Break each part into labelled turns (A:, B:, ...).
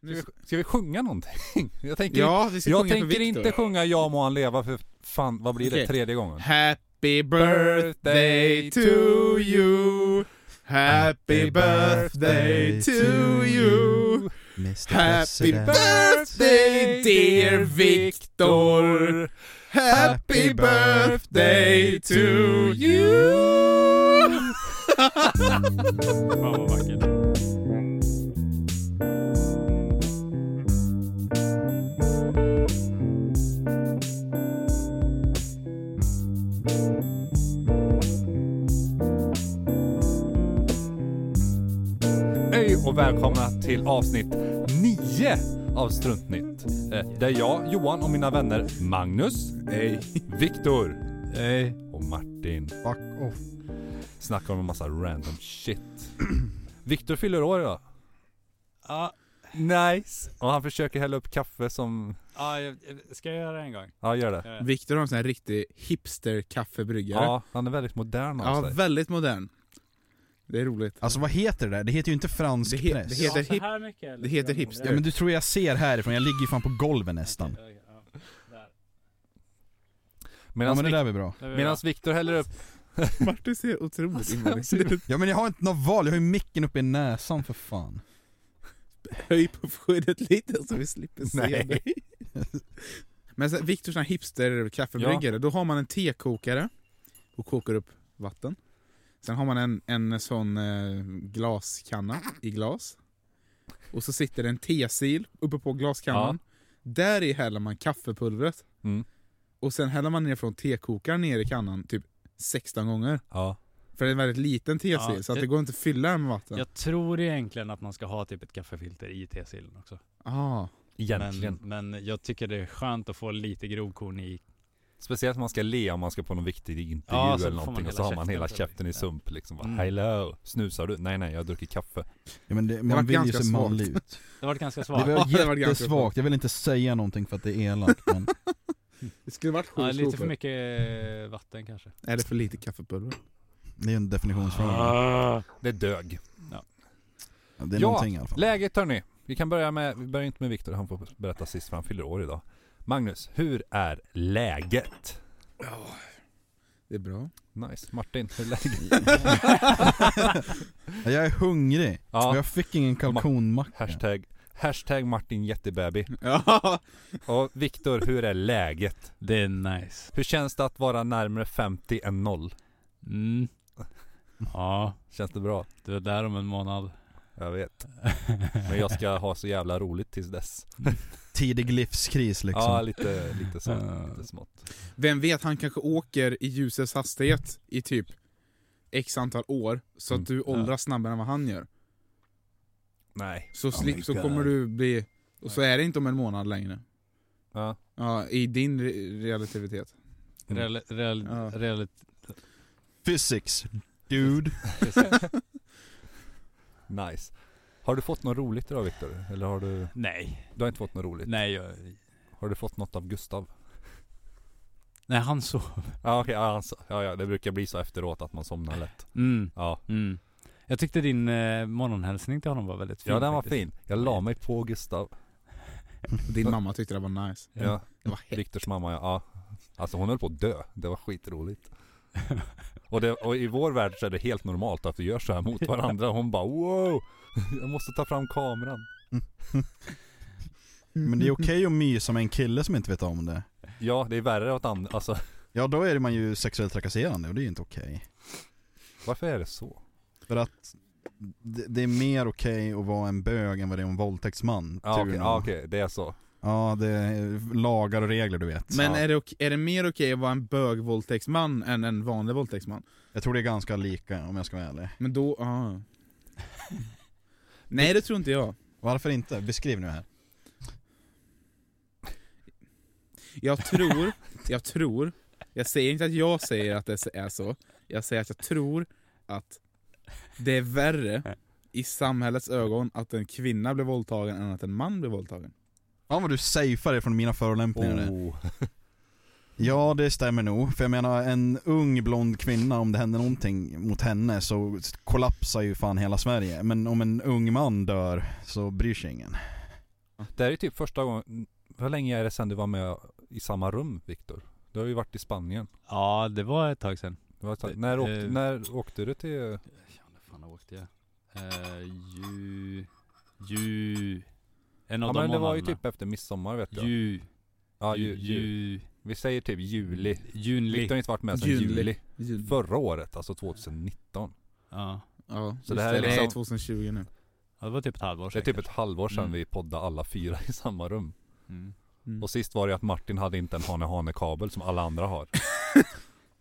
A: Ska vi, ska vi sjunga någonting? Jag tänker,
B: Ja, vi ska
A: jag
B: sjunga för
A: tänker
B: Viktor.
A: inte sjunga Ja må han leva för fan, vad blir det?
B: Okej.
A: Tredje gången?
B: Happy birthday to you Happy birthday to you
C: Mr.
B: Happy
C: President.
B: birthday dear Viktor Happy birthday to you
D: Fan vad vackert.
A: Hej och välkomna till avsnitt 9 av Struntnytt. Eh, Där jag, Johan och mina vänner Magnus, hej, Viktor, hej och Martin
C: Fuck off.
A: snackar om en massa random shit. Viktor fyller år idag.
D: Ja,
A: Nice. Och han försöker hälla upp kaffe som,
D: ja, jag- jag- ska jag göra det en gång?
A: ja gör det.
D: Gör det.
B: Viktor har en sån här riktig hipster-kaffebryggare.
A: Ja, han är väldigt modern av
B: Ja,
A: sig.
B: väldigt modern. Det är roligt.
C: Alltså vad heter det där? Det heter ju inte fransk
B: Det he-
C: press.
B: det heter-
D: ja, så
B: hip-
D: här mycket, eller
B: det heter
D: ska jag-
B: hipster.
C: Ja men du tror jag ser härifrån, jag ligger ju fan på golvet nästan.
D: Okej, okej, ja. Där.
C: Ja
A: Medan
C: men det där blir bra.
D: Där är vi
A: Medan
D: bra.
A: Viktor häller upp...
B: Martin ser otroligt invandrad ut.
C: Ja men jag har inte något val, jag har ju micken uppe i näsan för fan.
B: Höj på skyddet lite så vi slipper se
A: Nej.
B: dig. Men sen, Viktors sån här hipster-kaffebryggare, då har man en tekokare och kokar upp vatten. Sen har man en, en sån eh, glaskanna i glas. Och så sitter det en tesil uppe på glaskannan. Där i häller man kaffepulvret.
A: Mm.
B: Och sen häller man ner från tekokaren ner i kannan typ 16 gånger.
A: Ja.
B: För det är en väldigt liten tesil
D: Ja,
B: så att
D: det-
B: det går inte att fylla den med vatten.
D: Jag tror egentligen att man ska ha typ ett kaffefilter i tesillen också.
B: Ah.
A: Egentligen.
D: Men, men jag tycker det är skönt att få lite grovkorn i.
A: Speciellt om man ska le om man ska på någon viktig intervju
D: Ja, så får
A: eller
D: man
A: någonting och
D: hela
A: så har man
D: käften
A: hela
D: på det.
A: käften i sump liksom. Bara,
D: Mm.
A: Hello! Snusar du? Nej nej, jag dricker kaffe.
C: Ja men det,
B: var
C: man vill ju
B: ganska
C: se
B: svagt.
C: manlig ut.
D: Det har varit ganska
C: Det
B: Ja,
D: svagt.
B: det var
C: var
B: ganska svagt.
C: jättesvagt, jag vill inte säga någonting för att det är elakt men
B: Det skulle varit sju
D: Ja, lite
B: skopor.
D: för mycket eh, vatten kanske.
B: Är det för lite kaffepulver?
C: det är en definitionsfråga.
A: Det dög.
C: Det är
A: Ah. Ja,
C: någonting i alla fall.
A: Läget hörni. Vi kan börja med, vi börjar inte med Viktor, han får berätta sist för han fyller år idag. Magnus, hur är läget?
B: Det är bra.
A: Nice. Martin, hur är läget?
C: Ja, Jag är hungrig, och
A: Ja,
C: jag fick ingen kalkonmacka.
A: hashtag, hashtag Martin jättebaby.
B: Ja,
A: Och Viktor, hur är läget?
D: Det är nice.
A: Hur känns det att vara närmare 50 än 0?
D: Mm. Ja,
A: Känns det bra?
D: du är där om en månad.
A: Jag vet. Men jag ska ha så jävla roligt tills dess.
D: Liksom.
C: Tidig livskris
A: Ja,
C: liksom.
A: lite, lite så.
D: Ja.
A: Lite smått.
B: Vem vet, han kanske åker i ljusets hastighet i typ x antal år så att du åldras snabbare än vad han gör.
A: Nej.
B: Så, slipp,
C: Oh my
B: så
C: God.
B: kommer du bli... Och så är det inte om en månad längre.
A: Ja.
B: Ja, i din re- relativitet.
A: Mm.
D: Real, real,
B: Ja.
D: real,
C: Physics, dude.
A: Nice. Har du fått något roligt idag Viktor? Eller har du...
D: nej,
A: Du har inte fått något roligt?
D: nej, jag,
A: Har du fått något av Gustav?
D: nej han sov.
A: Ja okej, ja, alltså, ja, ja, det brukar bli så efteråt att man somnar lätt.
D: Mm,
A: Ja.
D: mm. Jag tyckte din eh, morgonhälsning till honom var väldigt fin.
A: Ja den var
D: faktiskt.
A: fin. Jag la mig på Gustav.
B: Din mamma tyckte det var nice.
A: Ja.
B: Det var hett.
A: Viktors mamma, ja. ja. Alltså hon höll på att dö. Det var skitroligt. Och, det, och i vår värld så är det helt normalt att vi gör så här mot varandra. Hon bara wow! Jag måste ta fram kameran.
C: Men det är okej att mysa med en kille som inte vet om det.
A: Ja, det är värre åt andra. Alltså
C: Ja då är man ju sexuellt trakasserande och det är ju inte okej.
A: varför är det så?
C: För att det, det är mer okej att vara en bög än vad det är en våldtäktsman.
A: Ja
C: tur
A: okej,
C: nog.
A: ja, okej, det är så.
C: ja det är lagar och regler du vet.
B: Men
A: Ja.
B: är det, ok- är det mer okej att vara en bögvåldtäktsman än en vanlig våldtäktsman?
C: Jag tror det är ganska lika om jag ska vara ärlig.
B: Men då... Ah. Nej, det tror inte jag.
C: Varför inte? Beskriv nu här.
B: Jag tror, jag tror, jag säger inte att jag säger att det är så. Jag säger att jag tror att det är värre i samhällets ögon att en kvinna blir våldtagen än att en man blir våldtagen.
C: Ja vad du safear dig från mina förolämpningar där.
A: Oh.
C: Ja det stämmer nog, för jag menar en ung blond kvinna om det händer någonting mot henne så kollapsar ju fan hela Sverige. Men om en ung man dör så bryr sig ingen.
A: Det här är typ första gången, hur länge är det sedan du var med i samma rum Viktor? Du har ju varit i Spanien.
D: Ja, det var ett tag sedan.
A: Du har ett tag- när, åkte,
D: Eh.
A: när åkte du till...
D: Ja, när fan åkte jag? Eh, ju... Ju... En av
A: Ja
D: de
A: men det var ju
D: månaderna.
A: typ efter midsommar vet jag.
D: Ju...
A: ja,
D: ju,
A: ju, ju.
D: ju,
A: Vi säger typ juli.
D: Junli.
A: Viktor har inte varit med sedan
B: Juli.
A: juli.
B: Jul.
A: Förra året, alltså 2019.
D: Ja.
B: Ja,
A: Så
B: just
A: det här är
B: det
A: liksom-
B: är 2020 nu.
D: ja, det var typ ett halvår
A: Det är
D: sedan.
A: typ ett halvår sedan
D: Mm.
A: vi poddade alla fyra i samma rum.
D: Mm.
B: Mm.
A: Och sist var det ju att Martin hade inte en hane-hane-kabel som alla andra har.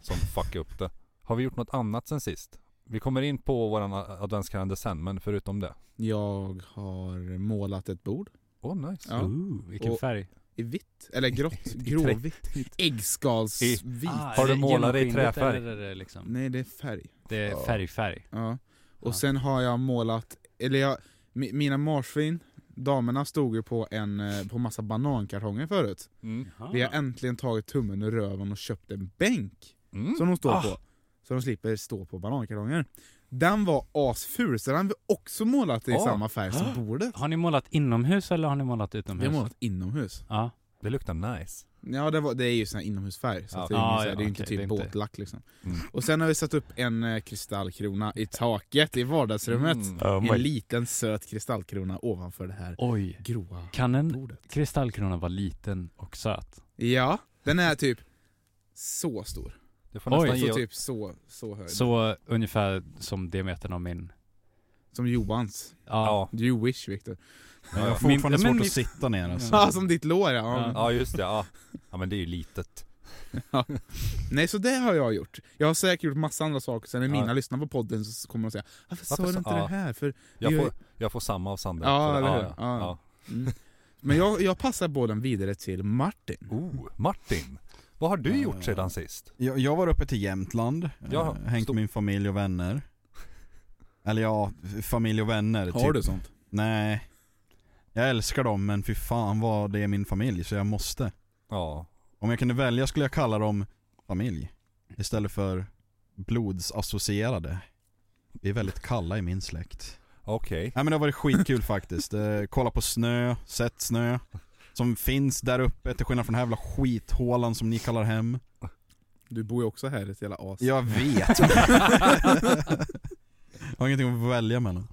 A: som fuckade upp det. Har vi gjort något annat sen sist? Vi kommer in på våran a- adventskalender sen, men förutom det.
B: Jag har målat ett bord
A: Åh oh, nice.
B: Ja.
D: Ooh, vilken
B: Och-
D: färg.
B: i vitt, eller grått, gråvitt.
A: I-
B: Äggskalsvitt.
A: Har
D: är
A: du
D: Ah, det
A: målat det i
D: genomskinligt
A: träfärg?
D: Eller är det, liksom,
B: Nej, det är färg.
D: det är färgfärg.
B: Ja. Och
D: Ja.
B: sen har jag målat, eller jag, mi- mina marsvin, damerna stod ju på en eh, på massa banankartonger förut.
A: Mm.
D: Ah.
B: Vi har äntligen tagit tummen ur röven och köpt en bänk
A: Mm.
B: som de står
D: Ah.
B: på. Så de slipper stå på banankartonger. Den var asful, så den har vi också målat i
A: Ah.
B: samma färg som bordet.
D: Har ni målat inomhus eller har ni målat
B: Vi
D: utomhus?
B: har målat inomhus.
D: Ja.
A: Det luktar nice.
B: Ja det, var, det är ju sån här inomhusfärg, så
A: Ja.
B: att det är ju ingen
D: Ja,
B: så här-
D: ja,
B: det är ju inte
D: okej, det
B: typ
D: är inte-
B: båtlack liksom.
A: Mm.
B: Och sen har vi satt upp en eh, kristallkrona i taket i vardagsrummet.
A: Mm.
B: En liten söt kristallkrona ovanför det här
D: Oj.
B: gråa
D: Kan en
B: bordet.
D: kristallkrona vara liten och söt?
B: Ja, den är typ så stor.
A: Det får
D: Oj,
A: nästan
B: Så
A: ge...
B: typ så, så hög.
D: Så eh, ungefär som diametern av min...
B: Som Johans.
A: Ja.
B: You wish Victor.
C: Jag har
A: Ja,
D: Min-
C: fortfarande
D: men
C: svårt
D: min-
C: att sitta ner alltså.
B: Ja, som ditt lår ja.
A: ja just det, ja. ja men det är ju litet.
B: Nej så det har jag gjort. Jag har säkert gjort massa andra saker, sen när
A: Ja.
B: mina lyssnar på podden så kommer de säga Varför sa
A: Varför
B: du
A: sa-
B: inte
A: ja.
B: det här? För
A: Jag
B: Vi har
A: får, jag får samma av Sandra.
B: Ja,
A: Så det-
B: eller hur? Ja. Mm. Men jag, jag passar bollen vidare till Martin.
A: Oh, Martin. Vad har du
C: Ja,
A: gjort
C: ja.
A: sedan sist?
C: Jag, jag var uppe till Jämtland,
A: Jaha,
C: ja, hängt
A: stor-
C: med min familj och vänner. Eller ja, familj och vänner. typ.
B: sånt?
C: Nej. Jag älskar dem men fy fan vad det är min familj så jag måste.
A: Ja.
C: Om jag kunde välja skulle jag kalla dem familj. Istället för blodsassocierade. Vi är väldigt kalla i min släkt.
A: Okej.
C: Nej men det har varit skitkul faktiskt. Eh, kolla på snö, sett snö. Som finns där uppe till skillnad från den här jävla skithålan som ni kallar hem.
B: Du bor ju också här, ett jävla as.
C: Jag vet. jag har ingenting att välja mellan.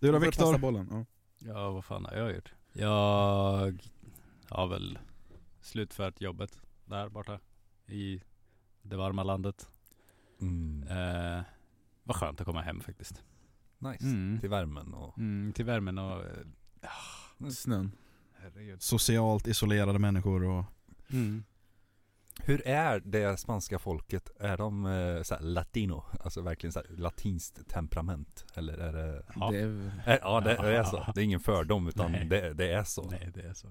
C: Du då
B: får passa
C: Viktor?
B: bollen. Ja.
D: Ja, vad fan har jag gjort? Jag har väl slutfört jobbet där borta i det varma landet.
A: Mm.
D: Eh, vad skönt att komma hem faktiskt.
A: Nice.
D: Mm.
A: Till värmen och...
D: Mm, till värmen och... eh,
B: Snön.
D: Herregud.
C: Socialt isolerade människor och...
D: Mm.
A: Hur är det spanska folket? Är de eh, såhär latino? Alltså verkligen såhär latinskt temperament? Eller är det...
D: Ja.
B: Det är,
A: Eh, Ja det, det är så. Det är ingen fördom utan
D: Nej.
A: det, det är så.
D: Nej, det är så.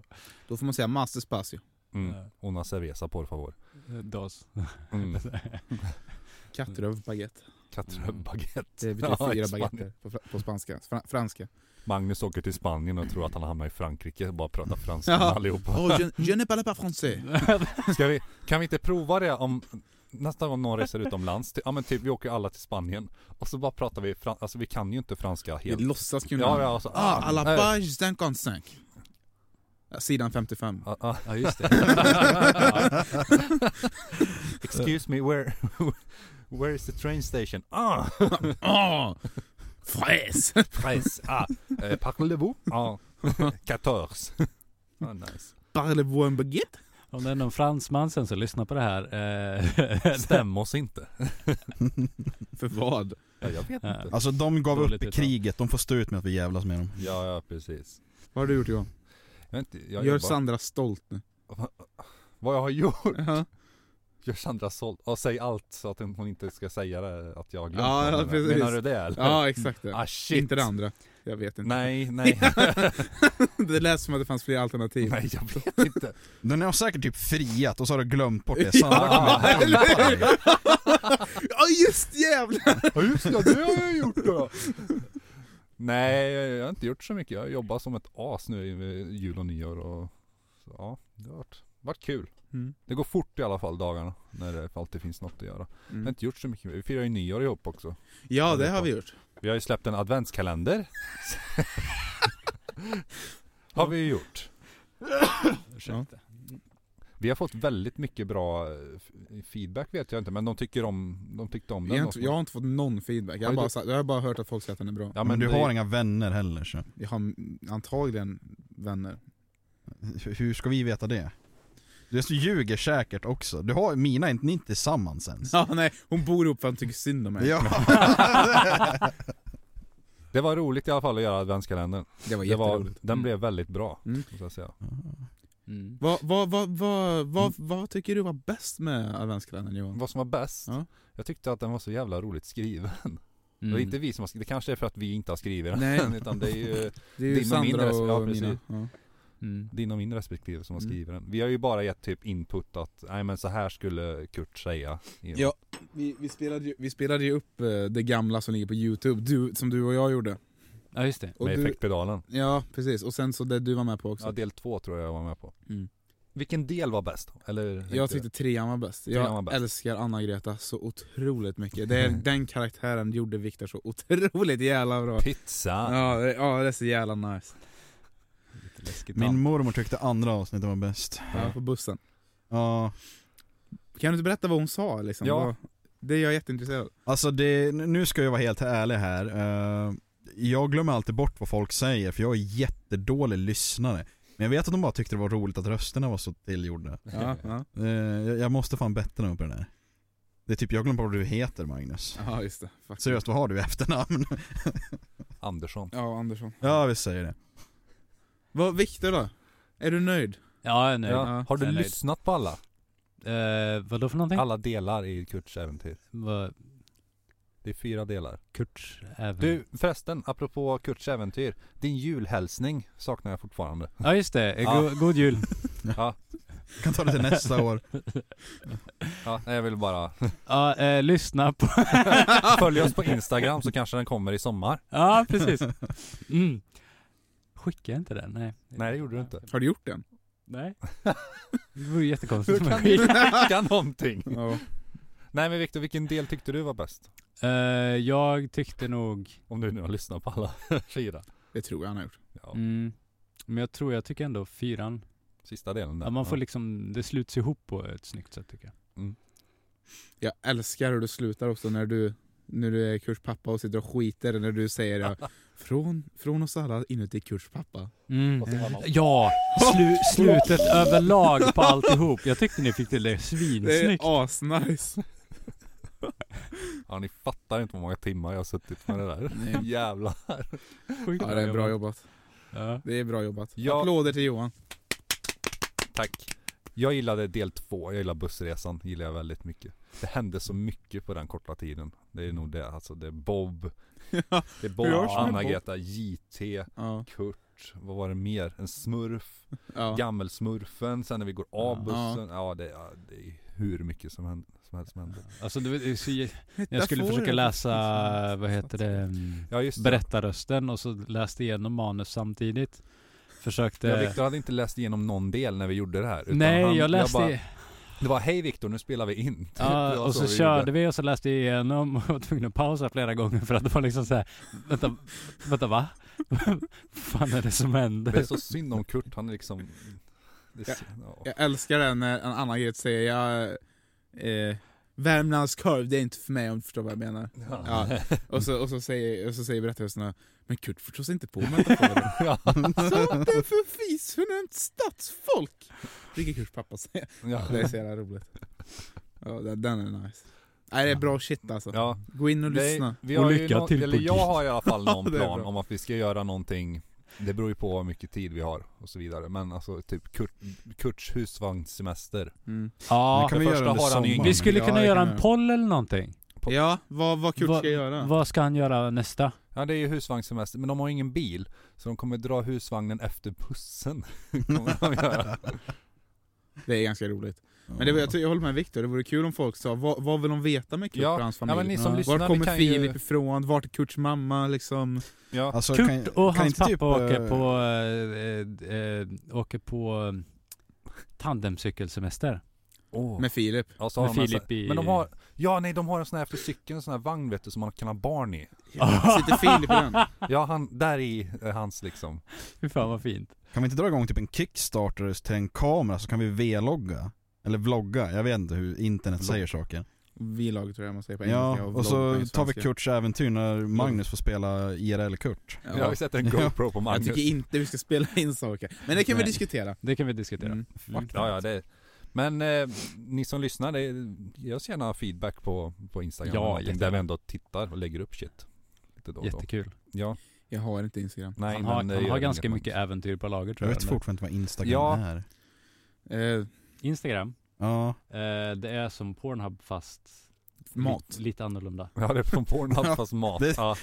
B: då får man säga masterspacio.
A: Mm.
D: Ja.
A: Una cerveza por favor.
D: eh, Dos.
A: Mm.
B: Kattröv baguette.
A: Katröv baguette.
B: Det betyder
A: Mm. Ja, i
B: fyra
A: Spanien.
B: baguetter på, fr- på spanska. Fra- franska.
A: Magnus åker till Spanien och tror att han hamnar i Frankrike och bara pratar franska
B: Ja.
A: med allihopa.
B: Oh, je, je ne parle pas français.
A: Ska vi, kan vi inte prova det om nästa gång någon reser utomlands? Ty- Ja men typ vi åker alla till Spanien och så bara pratar vi fran- alltså vi kan ju inte franska
B: Vi
A: helt.
B: låtsas kunna.
A: Ja, ja, alltså,
B: ah, à la
A: nej.
B: page 55. Ja, Sidan 55.
A: Ja, ja.
D: Ja, just det.
A: Excuse me, where, where is the train station? Ah!
B: Ah! Fräs!
A: Press, ah! Eh, Parlez-vous? Ah, 14. Ah, nice.
B: Parlez-vous en baguette?
D: Om det är någon fransman sen så lyssna på det här. Eh,
A: Stäm oss inte.
B: För vad?
A: Ja, jag vet inte.
C: Alltså de gav
D: Dåligt
C: upp i
D: utan.
C: kriget, de får stå ut med att vi jävlas med dem.
A: Ja, ja precis.
B: Vad har du gjort Johan?
A: Jag, är inte, jag
B: Gör
A: jobbar-
B: Sandra stolt nu.
A: Vad jag har gjort?
B: Ja,
A: Gör Sandra såld? Och säg allt så att hon inte ska säga det, att jag har glömt
B: Ja,
A: vad
B: ja,
A: jag menar.
B: precis.
A: Menar du det eller?
B: ja exakt det.
A: Ah shit.
B: Inte det andra. Jag vet inte.
A: Nej, nej,
B: Det lät som att det fanns fler alternativ.
A: nej jag vet inte.
C: Den har säkert typ friat och så har du glömt bort det.
B: Ja,
C: Sandra kommer
B: eller
C: hjälpa dig.
B: Ja just jävlar!
A: Ja just det, det har jag gjort då. Nej, jag har inte gjort så mycket. Jag har jobbat som ett as nu i eh, jul och nyår och så, ja, det har varit, varit kul.
B: Mm.
A: Det går fort i alla fall dagarna när det alltid finns något att göra.
B: Mm.
A: Jag har inte gjort så mycket. Vi firar ju nyår ihop också.
B: Ja det har vi gjort.
A: Vi har ju släppt en adventskalender. har vi ju gjort.
D: Ursäkta.
A: Vi har fått väldigt mycket bra eh, f- feedback vet jag inte, men de tycker om, de tyckte om
B: Jag,
A: den.
B: har inte, jag har inte fått någon feedback. Jag har,
A: Oj,
B: bara,
A: du-
B: sagt- jag har bara hört att folk säger att den är bra.
A: ja,
C: men du
A: det-
C: har inga vänner heller så.
B: Jag har mm, antagligen vänner.
C: Hur- Hur ska vi veta det? Du ljuger säkert också. Du har, mina är inte, ni är inte tillsammans ens.
B: Ja, nej, hon bor upp för att hon tycker synd om mig.
C: Ja.
A: Det var roligt i alla fall att göra adventskalendern.
B: Det var
A: Det var,
B: jätteroligt.
A: den
D: Mm.
A: blev väldigt bra.
B: Mm.
A: måste jag säga.
D: Mm.
B: Vad, vad, vad, vad, vad, vad tycker du var bäst med adventskalendern Johan?
A: Vad som var bäst?
B: Mm. Ja.
A: Jag tyckte att den var så jävla roligt skriven. Det var
D: Mm.
A: inte vi som har skrivit, det kanske är för att vi inte har skrivit den.
B: Nej.
A: Utan det är ju
B: Det är ju
A: Din och min
B: Sandra
A: dress,
B: och
A: ja,
B: mina.
A: precis.
B: Ja.
D: Mm.
A: din och min respektive som har
B: Mm.
A: skrivit den. Vi har ju bara gett typ input att, nej men så här skulle Kurt säga. i den.
B: Ja. Vi, vi, spelade ju, vi spelade ju upp eh, det gamla som ligger på youtube, du, som du och jag gjorde.
D: Ja just det.
B: Och
A: med
B: du,
A: effektpedalen.
B: ja precis, och sen så det du var med på också.
A: Ja, del två tror jag jag var med på.
B: Mm.
A: Vilken del var bäst? Eller,
B: Jag tyckte trean var bäst. Jag
A: Trean var bäst.
B: älskar Anna-Greta så otroligt mycket. Det är, den karaktären gjorde Viktor så otroligt jävla bra.
A: Pizza!
B: Ja, det, ja, det är så jävla nice.
D: Lite läskigt.
C: Min mormor tyckte andra avsnittet var bäst.
B: Ja, på bussen.
C: Ja.
B: Kan du inte berätta vad hon sa liksom?
A: Ja.
B: Vad- Det är jag jätteintresserad av.
C: Alltså det, nu ska jag vara helt ärlig här. Eh, Jag glömmer alltid bort vad folk säger för jag är jättedålig lyssnare. Men jag vet att de bara tyckte det var roligt att rösterna var så tillgjorda.
B: Ja, ja.
C: Eh, Jag jag måste fan bättre mig på den här. Det är typ, jag glömmer bort vad du heter Magnus.
B: ja just det. Fuck.
C: Seriöst, vad har du i efternamn?
A: Andersson.
B: Ja, Andersson.
C: Ja, vi säger det.
B: Vad, Viktor då? Är du nöjd?
D: Ja, jag är nöjd.
A: Ja. Har du
D: Jag är nöjd.
A: lyssnat på alla?
D: Eh, vadå för någonting?
A: Alla delar i Kurts äventyr?
D: Vad-
A: Det är fyra delar.
D: Kurts även...
A: Du förresten, apropå Kurts äventyr. Din julhälsning saknar jag fortfarande.
D: Ja just det, Eh,
A: Ja.
D: go- god jul.
C: Kan ta det till nästa år.
A: Ja, nej, jag vill bara...
D: Ja, eh, lyssna på...
A: Följ oss på Instagram så kanske den kommer i sommar.
D: Ja, precis. Mm. Skickade jag inte den? Nej.
A: Nej, det gjorde du inte.
B: Har du gjort den?
D: Nej. Det vore
A: Hur
D: jättekonstigt. om jag
A: kan du
D: skickade.
A: skicka någonting?
B: Ja.
A: Nej men Viktor, vilken del tyckte du var bäst?
D: Eh, jag tyckte nog...
A: Om du nu har lyssnat på alla fyra.
B: Det tror jag han har gjort.
A: Ja,
D: Mm, men jag tror, jag tycker ändå fyran.
A: sista delen där.
D: Ja, man får liksom, det sluts ihop på ett snyggt sätt tycker jag.
B: Jag älskar hur du slutar också när du, när du är Kurs pappa och sitter och skiter när du säger ja, från, från oss alla inuti Kurs pappa.
A: Och så har man-
D: Ja, slu, slutet överlag på alltihop. Jag tyckte ni fick till det svinsnyggt.
B: asnice.
A: Ja ni fattar inte hur många timmar jag har suttit med det där.
B: Nej.
A: Jävlar.
D: Sjukt
B: Ja, det är bra jobbat.
D: Ja.
B: Det är bra jobbat.
A: Ja.
B: Applåder till Johan.
A: Tack. Jag gillade del två, jag gillar bussresan, gillar jag väldigt mycket. Det hände så mycket på den korta tiden. Det är nog det, alltså det är Bob, det är Bob,
B: görs med
A: Anna-Greta, JT,
B: Ja.
A: Kurt, vad var det mer? En smurf,
B: Ja.
A: gammelsmurfen, sen när vi går av
D: Ja.
A: bussen. Ja, det, ja, det är hur mycket som händer. Som helst som händer.
D: Alltså det, var- det, är så jag,
B: Hitta
D: jag skulle
B: fåret.
D: försöka läsa, vad heter det, mm,
A: Ja just det.
D: berättarrösten och så läste igenom manus samtidigt. Försökte...
A: Ja, Viktor hade inte läst igenom någon del när vi gjorde det här. utan
D: Nej,
A: han-
D: jag läste...
A: bara, det var hej Viktor, nu spelar vi in. Det
D: Ja,
A: var
D: och så
A: vi
D: körde
A: gjorde.
D: vi och så läste jag igenom och var tvungen att pausa flera gånger för att det var liksom så här, vänta, vänta va? Vad fan är det som
A: Det är
D: händer?
A: så synd om Kurt, han är liksom... Det är, ja.
B: Jag älskar det när en annan grej säger jag, eh, Värmlandskorv, det är inte för mig om du förstår vad jag menar.
A: Ja.
B: Ja. Och, så, och så säger, och så säger berättelserna Men Kurt förstår sig inte på mig Så
A: Ja.
B: det är för fisförnämt stadsfolk! Vilket Kurts pappa säger.
A: Ja.
B: Det är så jävla roligt. Ja, den, den är nice. Nej det är bra shit alltså.
A: Ja.
B: Gå in och
A: Det är-
B: lyssna.
A: vi
D: Och
A: har ju
D: lycka
A: nå-
D: till på
A: Eller jag
D: ditt.
A: har i alla fall någon
B: Ja, det är
A: plan
B: bra.
A: om att vi ska göra någonting Det beror ju på hur mycket tid vi har och så vidare Men alltså typ Kurt, Kurts husvagnssemester
B: Mm.
C: Det
D: Ja,
C: kan vi
A: för
C: göra
A: första
C: under
A: har han ju-
C: sommaren.
D: vi skulle
B: Ja,
D: kunna
B: det
D: göra
B: kan
D: en
B: vi.
D: poll eller någonting.
B: Ja, vad, vad Kurt
D: Vad-
B: ska göra?
D: Vad ska han göra nästa?
A: Ja det är ju husvagnssemester men de har ju ingen bil Så de kommer dra husvagnen efter bussen kommer de göra.
B: Det är ganska roligt. Men det, var- jag, ty- jag håller med Viktor, det vore kul om folk sa vad, vad vill de veta med Kurt
A: Ja,
B: och hans
A: ja,
B: familj?
A: men ni som
D: Ja.
A: lyssnar
B: Var
A: ni
B: kommer
A: kan
B: Filip
A: ju,
B: ifrån? Vart är Kurts mamma liksom?
A: ja.
C: Alltså,
D: Kurt
C: kan-
D: och
C: kan
D: hans
C: inte
D: pappa
C: typ,
D: åker
C: eh,
D: på, eh, eh, eh, åker på eh, tandemcykelsemester.
A: Åh.
B: Med Filip.
A: Ja, så har
D: Med
A: de en sån-
D: Filip i...
A: Men de har, ja nej de har en sån här efter cykeln, en sån här vagn vet du som man kan ha barn i.
B: Sitter Filip i den?
A: Ja han, där i eh, hans liksom.
D: Fy fan vad fint.
C: Kan vi inte dra igång typ en kickstarter till en kamera så kan vi vlogga? Eller vlogga, jag vet inte hur internet
A: Vlogg.
C: säger saker.
B: V-lag tror jag man säger på engelska.
C: Ja,
B: vlogg
C: och
B: på
C: så tar vi
B: svenska.
C: Kurts äventyr när Magnus får spela IRL-Kurt.
B: Ja.
A: Jag har ju sett en
C: Ja.
A: GoPro på
B: Jag
A: Magnus.
B: tycker inte vi ska spela in saker. Men det kan vi
D: Nej.
B: diskutera.
D: Det kan vi diskutera.
B: Mm.
A: Ja, ja, det men eh, ni som lyssnar, det, ge oss gärna feedback på, på Instagram.
D: Ja,
A: eller någonting,
D: jättegärna.
A: där vi ändå tittar och lägger upp shit. Lite då och då.
D: Jättekul.
A: Ja,
B: Jag har inte Instagram.
A: nej,
D: han
A: men
D: har,
A: det
D: han
A: gör
D: har
A: inget
D: ganska
A: man-
D: mycket äventyr på lager
C: Jag
D: tror jag.
C: vet
D: eller?
C: fortfarande inte vad Instagram
A: Ja.
C: är.
B: Eh,
D: Instagram,
C: Ja,
D: eh, det är som Pornhub fast
B: mat.
D: Lite, lite annorlunda.
A: Ja, det är från Pornhub
C: Ja,
A: fast mat.
C: det-
A: Ja,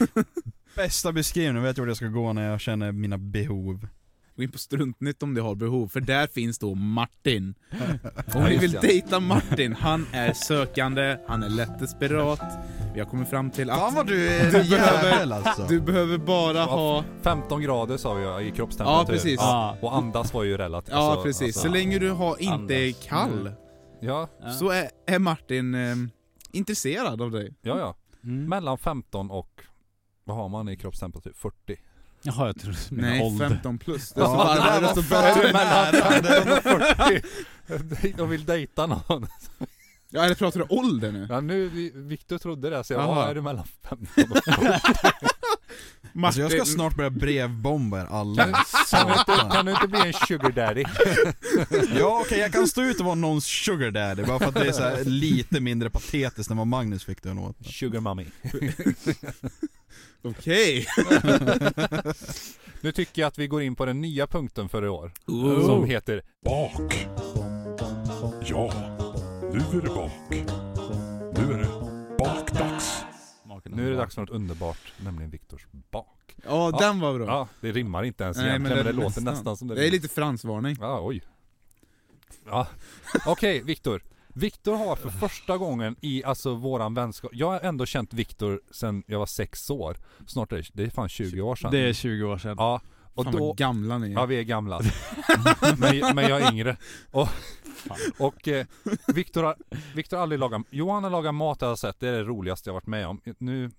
C: bästa beskrivningen, jag vet jag vart jag ska gå när jag känner mina behov.
B: Gå in på Struntnytt om du har behov, för där finns då Martin. Om
A: Ja,
B: ni
A: just
B: vill
A: det.
B: dejta Martin, han är sökande, han är lätt desperat. Vi har kommit fram till
C: Fan
B: att
C: vad du är en jävel alltså.
B: du behöver bara ha...
A: 15 grader sa vi ja, i kroppstemperatur.
B: Ja, precis.
D: Ja.
A: Och andas var ju relativt.
B: Ja,
A: alltså,
B: precis. Så
A: Alltså,
B: länge du har inte är
D: Andas.
B: kall,
C: Mm.
A: ja,
D: Ja.
B: så är, är Martin ehm, intresserad av dig.
A: ja, ja.
D: Mm.
A: Mellan 15 och, vad har man i kroppstemperatur? 40.
D: Jaha, jag trodde du menade
B: Nej,
D: ålder.
B: 15 plus. Desto
C: Ja, det där
B: varmare,
C: var
B: desto
C: fan
B: bättre.
C: nära. Det var-
A: De vill dejta någon.
B: Ja, eller pratar du ålder
C: Alltså,
B: nu?
A: Ja, nu, vi- Victor trodde det så jag,
B: Jaha.
A: ja, är du mellan 15 och 40?
C: Alltså jag ska
B: Martin-
C: snart börja brevbomba er alla.
A: Kan du inte,
C: Satan.
A: kan du inte bli en sugar daddy?
C: Ja okej, jag kan stå ut och vara någons sugar daddy bara för att det är så här lite mindre patetiskt än vad Magnus fick det att låta.
A: Sugar mummy.
B: Okej.
A: Nu tycker jag att vi går in på den nya punkten för i år.
B: Ooh.
A: Som heter
E: Bak. Ja, nu är det bak. Nu är det bakdags.
D: Maken
A: Nu är det
D: har-
A: dags för något underbart, nämligen Viktors bak.
B: Ja, den var bra.
A: Ja, det rimmar inte ens
B: Nej,
A: egentligen men
B: men
A: det,
B: det-
A: låter
B: nästan.
A: nästan, som det
B: Det är lite fransvarning.
A: Ja, oj. Ja. Okej, Viktor. Viktor har för första gången i alltså våran vänskap, jag har ändå känt Viktor sedan jag var sex år. Snart är det, det är fan 20 år sedan.
D: Det är 20 år sedan.
A: Ja, och
B: Fan
A: då,
B: vad gamla ni är.
A: Ja vi är gamla. men, men jag är yngre. Och, och eh, Viktor har, Viktor har aldrig lagat, Johan har lagat mat jag har sett, det är det roligaste jag varit med om. Nu,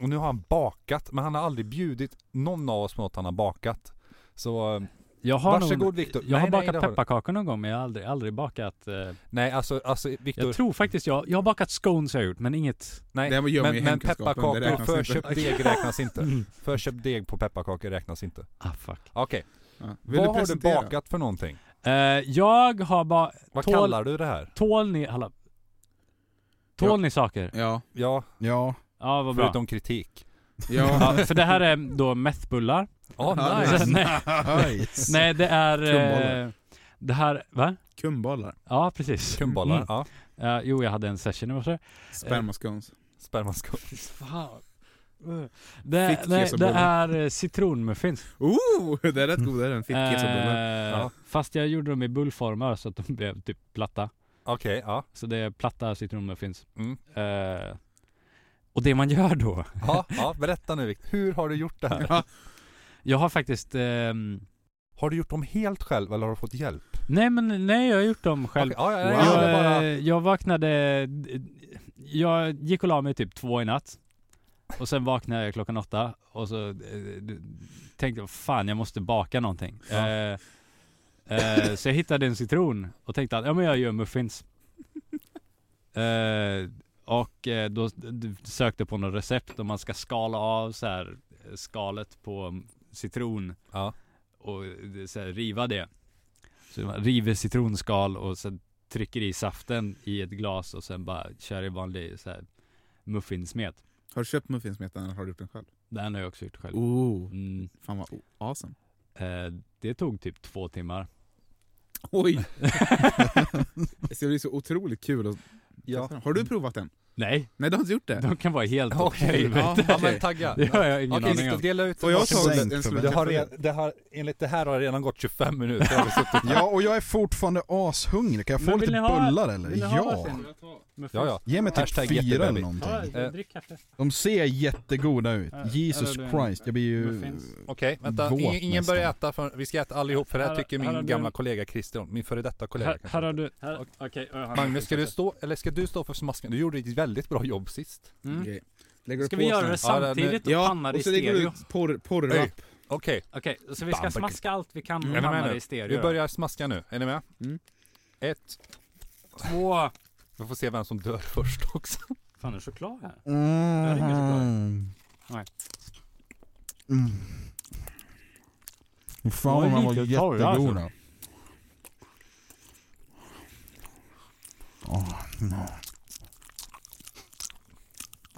A: och nu har han bakat, men han har aldrig bjudit någon av oss på något han har bakat. Så eh,
D: Jag har
A: Varsågod,
D: nog,
A: Viktor.
D: Jag har
A: Nej, nej,
D: bakat
A: det har du.
D: pepparkakor någon gång men jag har aldrig, aldrig bakat. Eh,
A: nej alltså, alltså
D: jag
A: Viktor,
D: tror faktiskt jag, jag har bakat scones har jag gjort men inget.
A: nej.
B: Det här gör
A: Men,
B: man ju i
A: men
B: hemkunskapen, det
A: pepparkakor och
B: räknas inte.
A: förköpt deg räknas inte.
D: Mm.
A: Förköpt deg på pepparkakor räknas inte.
D: Ah fuck.
A: Okej,
B: Ja. Vill
A: vad har du
B: presentera?
A: bakat för någonting?
D: Eh, jag har bara,
A: Vad
D: Tål-
A: kallar du det här?
D: tål ni, hallå. Tål
B: Ja.
D: ni saker?
B: Ja,
A: Ja,
C: Ja,
D: Ja vad bra.
A: förutom kritik.
B: ja.
D: Ja, för det här är då methbullar.
A: Ja,
B: Ja,
A: nice.
D: Så- nej,
C: nice.
D: nej det är... Eh,
B: Krumbollar.
D: det här, va?
B: Kumbollar.
D: Ja precis.
A: Kumbollar,
D: Mm.
A: ja.
D: Eh, jo jag hade en session i morse.
A: Eh.
B: Spermascones.
A: Spermaskott.
D: Fan. Det,
B: Fick
D: nej, det
B: kesobullar.
D: är eh, citronmuffins.
B: Oh, det är rätt godare än fittkisobullar.
D: Eh,
A: Ja.
D: Fast jag gjorde dem i bullformar så att de blev typ platta.
A: Okej, ja.
D: Så det är platta citronmuffins.
A: Mm.
D: Eh, och det man gör då.
A: Ja, ja, berätta nu Viktor. Hur har du gjort det här?
B: Ja.
D: Jag har faktiskt ehm,
A: Har du gjort dem helt själv eller har du fått hjälp?
D: Nej men nej jag har gjort dem själv.
A: Okej, ja, ja,
B: Wow.
A: ja, det är
D: Jag,
A: bara...
D: eh, jag vaknade, eh, jag gick och la mig typ två i natt. Och sen vaknade jag klockan åtta och så eh, d- tänkte jag fan jag måste baka någonting.
A: Ja.
D: Eh, eh, så jag hittade en citron och tänkte att ja men jag gör muffins. Eh, och eh, då d- d- sökte jag på något recept om man ska skala av så här eh, skalet på citron
A: Ja.
D: och eh, så här, riva det. Så man river citronskal och sen trycker i saften i ett glas och sen bara kör i vanlig så här, muffinsmet.
B: Har du köpt muffinsmeten eller har du gjort den själv?
D: Den har jag också gjort själv.
B: Oh,
D: Mm,
B: fan vad o- awesome.
D: eh, det tog typ två timmar.
B: Oj! det ska bli så otroligt kul att
A: Ja.
B: Har du provat den?
D: Nej,
B: Nej, du har inte gjort det?
D: de kan vara helt åt
A: Okej,
D: helvete.
A: ja, ja, men tagga.
D: Det har jag ingen
A: Okej,
D: aning
A: Viktor
D: om.
A: dela ut
B: Får jag ta
C: Sänkt
B: en
A: det
C: förväntan.
B: slurk?
A: har, re- det har, enligt det här har det redan gått 25 minuter. Har vi suttit-
C: Ja, och jag är fortfarande ashungrig. Kan jag få
D: Men vill
C: lite
D: ni ha-
C: bullar eller?
D: vill ni ha
C: Ja.
D: varsin? Men
A: ja, ja.
C: Ge mig typ
A: Hashtag
C: fyra
A: jättebaby.
C: eller
D: Ja,
C: någonting.
A: Eh.
D: drick kaffe.
C: De ser jättegoda ut.
D: Ja,
C: Jesus
D: eller du-
C: Christ, jag blir ju...
D: muffins.
A: Okej, vänta.
C: Våt
A: Ingen, ingen
C: nästan.
A: börjar äta för, vi ska äta allihop för det här
D: Här-
A: tycker
D: här har
A: min
D: du-
A: gamla kollega Christian, min före detta kollega.
D: Här,
A: kanske.
D: här har du, här, okej. Okay,
A: Magnus, ska du stå, eller ska du stå för smasken? Du gjorde ett väldigt bra jobb sist.
D: Mm.
B: Okej. Lägger du
D: Ska
B: på
D: vi göra
B: sån här?
D: det samtidigt och
B: Ja,
D: panna det i
B: och så lägger du
D: stereo?
B: ut porr, porrrap.
A: Okej,
D: Okej, så vi ska
A: Bam,
D: smaska allt vi kan
B: Mm.
D: och
A: Men,
D: panna
A: men,
D: det i stereo.
A: vi börjar smaska nu. Är ni med?
B: Mm.
A: Ett.
D: Två.
A: Vi får se vem som dör först också.
D: Fan, är det choklad här? är inget bra.
C: Mm.
D: Nej.
C: Mm.
D: De är
C: Fan, de var
D: lite torra,
C: jättegoda. Åh, no.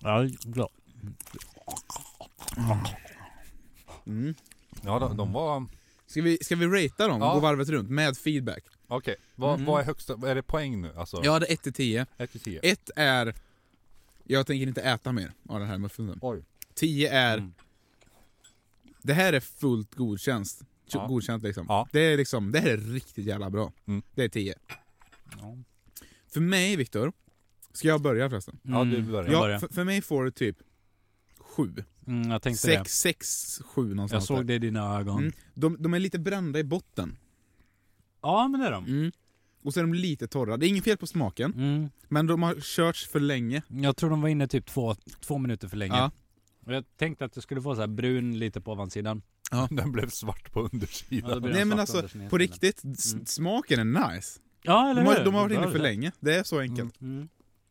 D: Ja, bra.
B: Mm.
A: Ja, de, de var...
B: Ska, vi, ska vi ratea dem?
A: Ja.
B: Gå varvet runt med feedback.
A: Okej, vad,
D: Mm.
A: vad är högsta... Är det poäng nu? Alltså,
B: Jag hade 1 till 10.
A: 1 till 10?
B: 1 är... Jag tänker inte äta mer av den här muffinsen.
A: Oj.
B: 10 är...
D: Mm.
B: Det här är fullt godkänt.
A: Ja.
B: Godkänt liksom.
A: Ja.
B: Det är liksom. Det här är riktigt jävla bra.
A: Mm.
B: Det är 10. För mig, Viktor. Ska jag börja förresten?
A: Ja, du börjar.
B: Ja,
D: Mm. börjar.
B: för, för mig får det typ 7.
D: Mm, jag tänkte det.
B: 6, 6, 7
D: Jag
B: någonstans.
D: såg
B: där.
D: det i dina ögon.
B: Mm. De, de är lite brända i botten.
D: Ja, men det är de.
B: Mm. Och så är de lite torra. Det är inget fel på smaken,
D: Mm.
B: men de har körts för länge.
D: Jag tror de var inne typ två, två minuter för länge.
B: Ja.
D: Och jag tänkte att det skulle få så här brun lite på ovansidan.
A: Den blev svart på undersidan.
D: Ja, då blir
B: Nej
D: den
B: men
D: svart
B: alltså,
D: undersidan
B: på
D: istället.
B: riktigt. s-
D: Mm.
B: Smaken är nice.
D: Ja, eller
B: De
D: hur?
B: har, de har varit
D: Det
B: inne
D: var
B: för
D: det.
B: länge. Det är så enkelt.
D: Mm.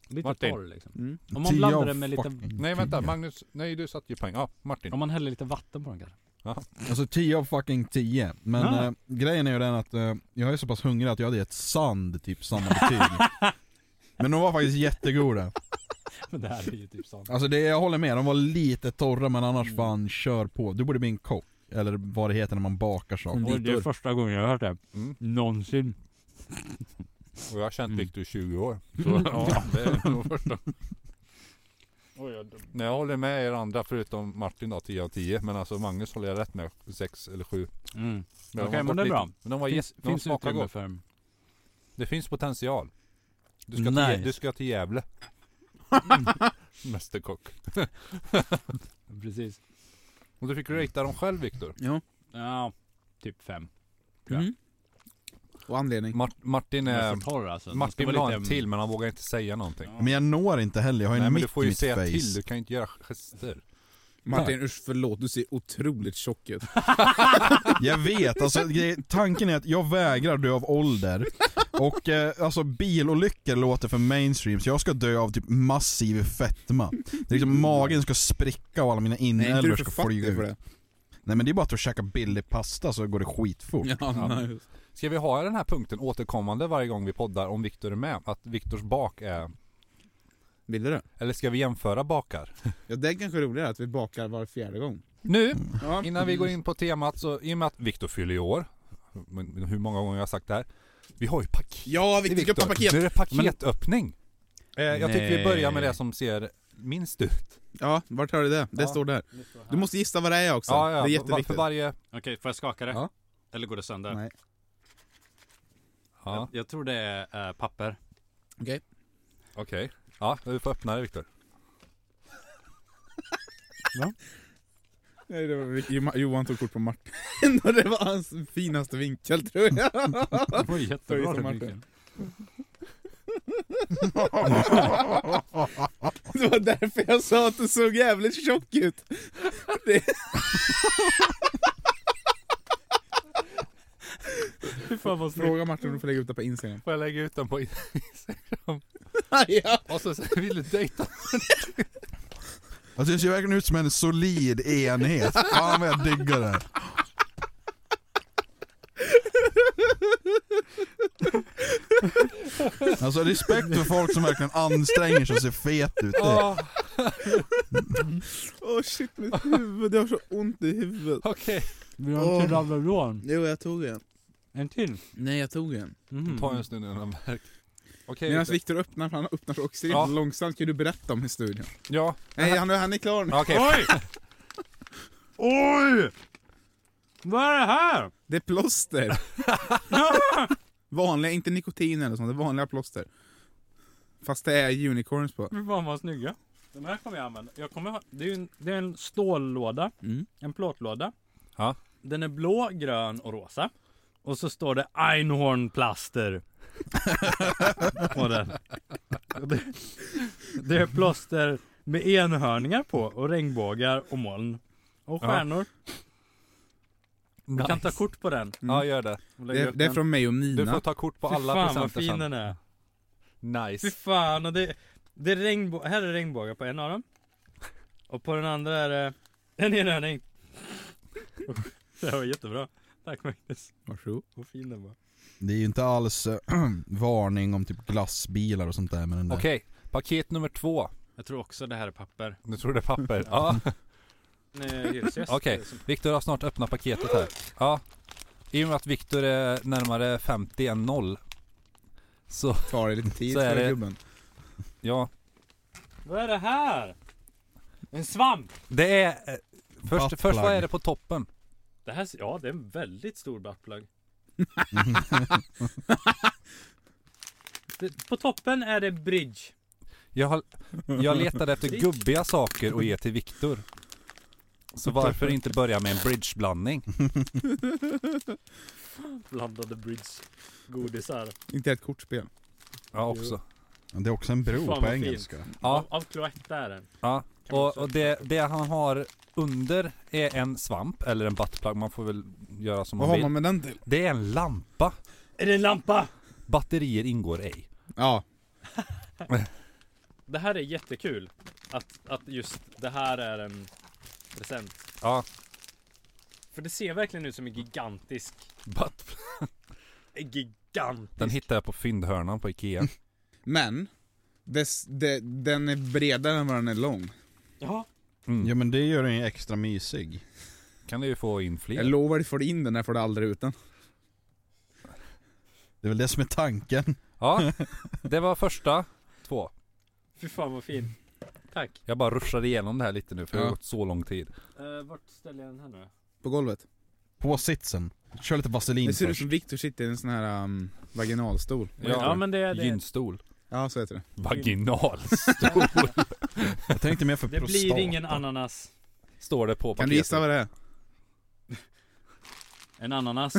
D: Lite
A: Martin.
D: torr liksom.
B: Mm.
D: Om
C: Tio
D: man blandar
C: av
D: den med lite,
C: fucking
A: Nej, vänta.
D: Mm.
C: tio.
A: Magnus... Nej, du satt ju poäng. Ja, Martin.
D: om man häller lite vatten på den kanske.
C: Alltså 10 av fucking 10. Men
D: Ja.
C: eh, grejen är ju den att eh, jag är så pass hungrig att jag hade gett sand typ samma betyg. Men de var faktiskt jättegoda.
D: Men det här är ju typ sånt.
C: Alltså det, jag håller med, de var lite torra men annars
D: Mm.
C: fan kör på. Du borde bli en kock. Eller vad det heter när man bakar saker.
D: Och det är första gången jag har hört det.
A: Mm.
D: Någonsin.
A: Och jag har känt
D: Mm.
A: Viktor i 20 år. Så, ja, det är nog första. Nej, jag håller med er andra förutom Martin då, 10 av 10. Men alltså Magnus håller jag rätt med, 6 eller 7.
D: Mm.
A: de
D: Okej,
A: har
D: men
A: fått
D: det är
A: lite-
D: bra.
A: Men de, var
D: Finns,
A: finns, de
D: finns
A: smakar
D: utrymme
A: gott.
D: för...
A: Det finns potential. Du ska,
D: Nice.
A: till, du ska till Gävle. Mästerkock.
D: Precis.
A: Och du fick ratea dem själv Viktor.
B: Ja.
D: Ja, typ fem.
B: Mm. Och anledning.
A: Mart- Martin,
D: De är
A: är,
D: för torra alltså. De ska
A: Mm. Martin vill
D: vara
A: ha en
D: lite-
A: till men han vågar inte säga någonting.
D: Ja.
C: Men jag når inte heller, jag har ju
A: Nej
C: en
A: men du
C: mick i
A: får ju
C: mitt
A: säga
C: face.
A: till, du kan ju inte göra gester.
B: Martin, usch förlåt. Du ser otroligt tjock ut.
C: Jag vet, alltså grej- tanken är att jag vägrar dö av ålder. Och eh, alltså bilolyckor låter för mainstream, så jag ska dö av typ massiv fetma. Det är liksom magen ska spricka och alla mina
B: Nej, inte
C: inälvor
B: du
C: ska
B: för fattig
C: flyga ut.
B: för det.
C: Nej men det är bara att du käkar billig pasta så går det skitfort.
B: Ja, nej. just.
A: Ska vi ha den här punkten återkommande varje gång vi poddar om Viktor är med? Att Viktors bak är...
B: Vill du det?
A: Eller ska vi jämföra bakar?
B: Ja, det är kanske roligare att vi bakar var fjärde gång.
A: Nu!
B: Ja.
A: Innan vi går in på temat så, i och med att Viktor fyller i år, men hur många gånger jag har sagt det här. Vi har ju paket.
B: Ja, Viktor ska
A: Viktor.
B: öppna paket!
A: Nu är det paketöppning. Eh, jag tycker vi
D: Nej.
A: börjar med det som ser minst ut.
B: Ja, vart har du det? Det
A: Ja.
B: står där. Du måste gissa vad det är också.
A: Ja, ja,
B: Det är
A: va- För
B: jätteviktigt.
A: varje...
D: Okej, får jag skaka det?
B: Ja.
D: Eller går det sönder?
B: Nej.
A: Ja,
D: Jag, jag tror det är eh, papper.
A: okej. Ja, du får öppna det Viktor.
B: Nej, det var, Jo- Johan tog kort på Martin och det var hans finaste vinkel tror jag.
D: Det var
B: Oj,
D: jättebra
B: som
D: den
B: Martin.
D: vinkeln.
B: Det var därför jag sa att du såg jävligt tjock ut.
D: Fy fan vad snyggt.
B: Fråga Martin om du får lägga ut det på Instagram.
A: Får jag lägga ut den på Instagram?
B: Ah, ja.
A: Och så säger vill du dejta?
C: Alltså jag ser verkligen ut som en solid enhet. Fan vad jag diggar det. här. Alltså respekt för folk som verkligen anstränger sig och ser fet ut. Det-
A: Ja,
B: Åh shit, mitt huvud. Jag har så ont i huvudet.
A: okej.
D: Vill
B: ha en till
D: Alvedon?
B: Jo, jag tog en.
D: En till? Mhm.
B: Nej, jag tog en.
A: Ta en stund innan de märker. Okej
B: Medan
A: Viktor.
B: Viktor öppnar, för han öppnar så extremt
A: Ja.
B: långsamt, kan du berätta om historien?
A: Ja,
B: Nej, han, han är klar nu.
A: okej.
D: Oj! Vad är det här?
B: Det är plåster. vanliga, inte nikotin eller sånt, det är vanliga plåster. Fast det är unicorns på.
D: Fy fan vad snygga. Den här kommer jag använda. Jag kommer, ha- det, är ju en, det är en stållåda,
B: Mm.
D: en plåtlåda.
A: Ja.
D: Den är blå, grön och rosa. Och så står det Einhornplaster på den. Det, det är plåster med enhörningar på och regnbågar och moln. Och
A: Ja.
D: stjärnor. Vi kan ta
A: Nice.
D: kort på den.
A: Ja, gör det.
D: och lägga
B: Det,
D: upp
B: det är
D: den.
B: från mig och
A: Du får
B: Nina.
A: ta kort på
D: Mm. Fy
A: alla
D: fan vad
A: presenter
D: fin
A: sen.
D: den är. Fy
A: Nice.
D: fan, och det, det är regnbå- här är regnbågar på en av dem Och på den andra är det en enhörning Det här var jättebra Tack Magnus,
B: Varsågod.
D: vad fin den var
C: Det är ju inte alls eh, varning om typ glassbilar och sånt där med den där.
A: Okej, paket nummer två.
D: Jag tror också det här är papper
A: Nu tror det är papper. Ja,
D: Hyresgäst
A: Okej. Viktor har snart öppnat paketet här. Ja. I och med att Viktor är närmare 50 än noll. Så,
B: Tar det lite tid
A: Så är
B: för
A: det.
B: gubben.
A: ja.
D: Vad är det här? En svamp!
A: Det är... eh, Först,
C: Buttplug.
A: först vad är det på toppen?
D: Det här, ja det är en väldigt stor buttplug Det- På toppen är det bridge
A: Jag, har, jag letade efter gubbiga saker att ge till Viktor. Så varför inte börja med en bridgeblandning?
D: Blandade bridge Godisar
B: Inte ett kortspel.
A: Ja, också.
C: Det är också en
D: Fan,
C: bro
D: vad
C: på
D: fint.
C: engelska.
A: Ja,
D: Av, av Cloetta är den
A: ja.
D: Kan man
A: Och,
D: också-
A: och det, det han har under är en svamp, eller en buttplug, man får väl göra som
B: Vad
A: man
B: har
A: vill.
B: man med den till?
A: Det är en lampa.
D: Är det en lampa?
A: Batterier ingår ej.
B: Ja,
D: Det här är jättekul att, att just det här är en present
A: Ja,
D: För det ser verkligen ut som en gigantisk
A: butt...
D: en Gigant
A: Den hittade jag på fyndhörnan på Ikea.
B: men. Dess, det, den är bredare än vad den är lång.
D: Ja
A: Mm.
C: Ja men det gör den ju extra mysig.
A: Kan du ju få in
B: Jag
A: fler.
B: lovar, dig, får du in den här får du aldrig ut den.
C: Det är väl det som är tanken.
A: Ja, det var första två.
D: Fy fan vad fin Tack
A: Jag bara ruschade igenom det här lite nu för det har
B: Ja.
A: gått så lång tid.
D: uh, Vart ställer jag den här nu?
B: På golvet.
C: På sitsen. Kör lite vaselin
B: Det ser ut
C: först.
B: som Victor sitter i en sån här um, vaginalstol.
A: Ja,
D: men det är
A: Gynstol.
B: Ja, så heter det.
A: Vaginalstol.
C: Jag tänkte mer för
D: Det blir
C: prostata.
D: ingen ananas
A: Står det på
B: Kan du gissa
A: paketet.
B: vad det är?
D: En ananas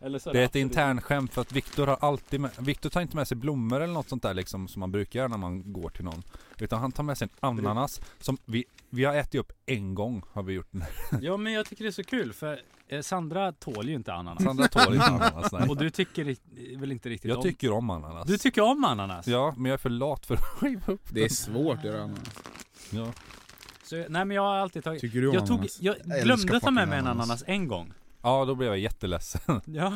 D: Eller så
A: Det är ett internskämt för att Viktor har alltid med, Viktor tar inte med sig blommor eller något sånt där liksom som man brukar göra när man går till någon. Utan han tar med sig en ananas som vi, vi har ätit upp en gång har vi gjort den.
D: Ja men jag tycker det är så kul för eh, Sandra tål ju inte ananas
A: Sandra tål inte ananas nej.
D: Och du tycker ri- väl inte riktigt
A: Jag
D: om
A: tycker om ananas.
D: Du tycker om ananas?
A: Ja, men jag är för lat för att skiva upp
B: Det är svårt att göra ananas.
A: Ja.
D: Så, nej men jag har alltid tagit
B: Tycker du om
D: Jag, tog,
B: ananas?
D: jag
C: älskar
D: glömde ta med
C: fucking
D: mig en
C: ananas.
D: ananas en gång
A: ja, då blev jag jätteledsen.
D: Ja.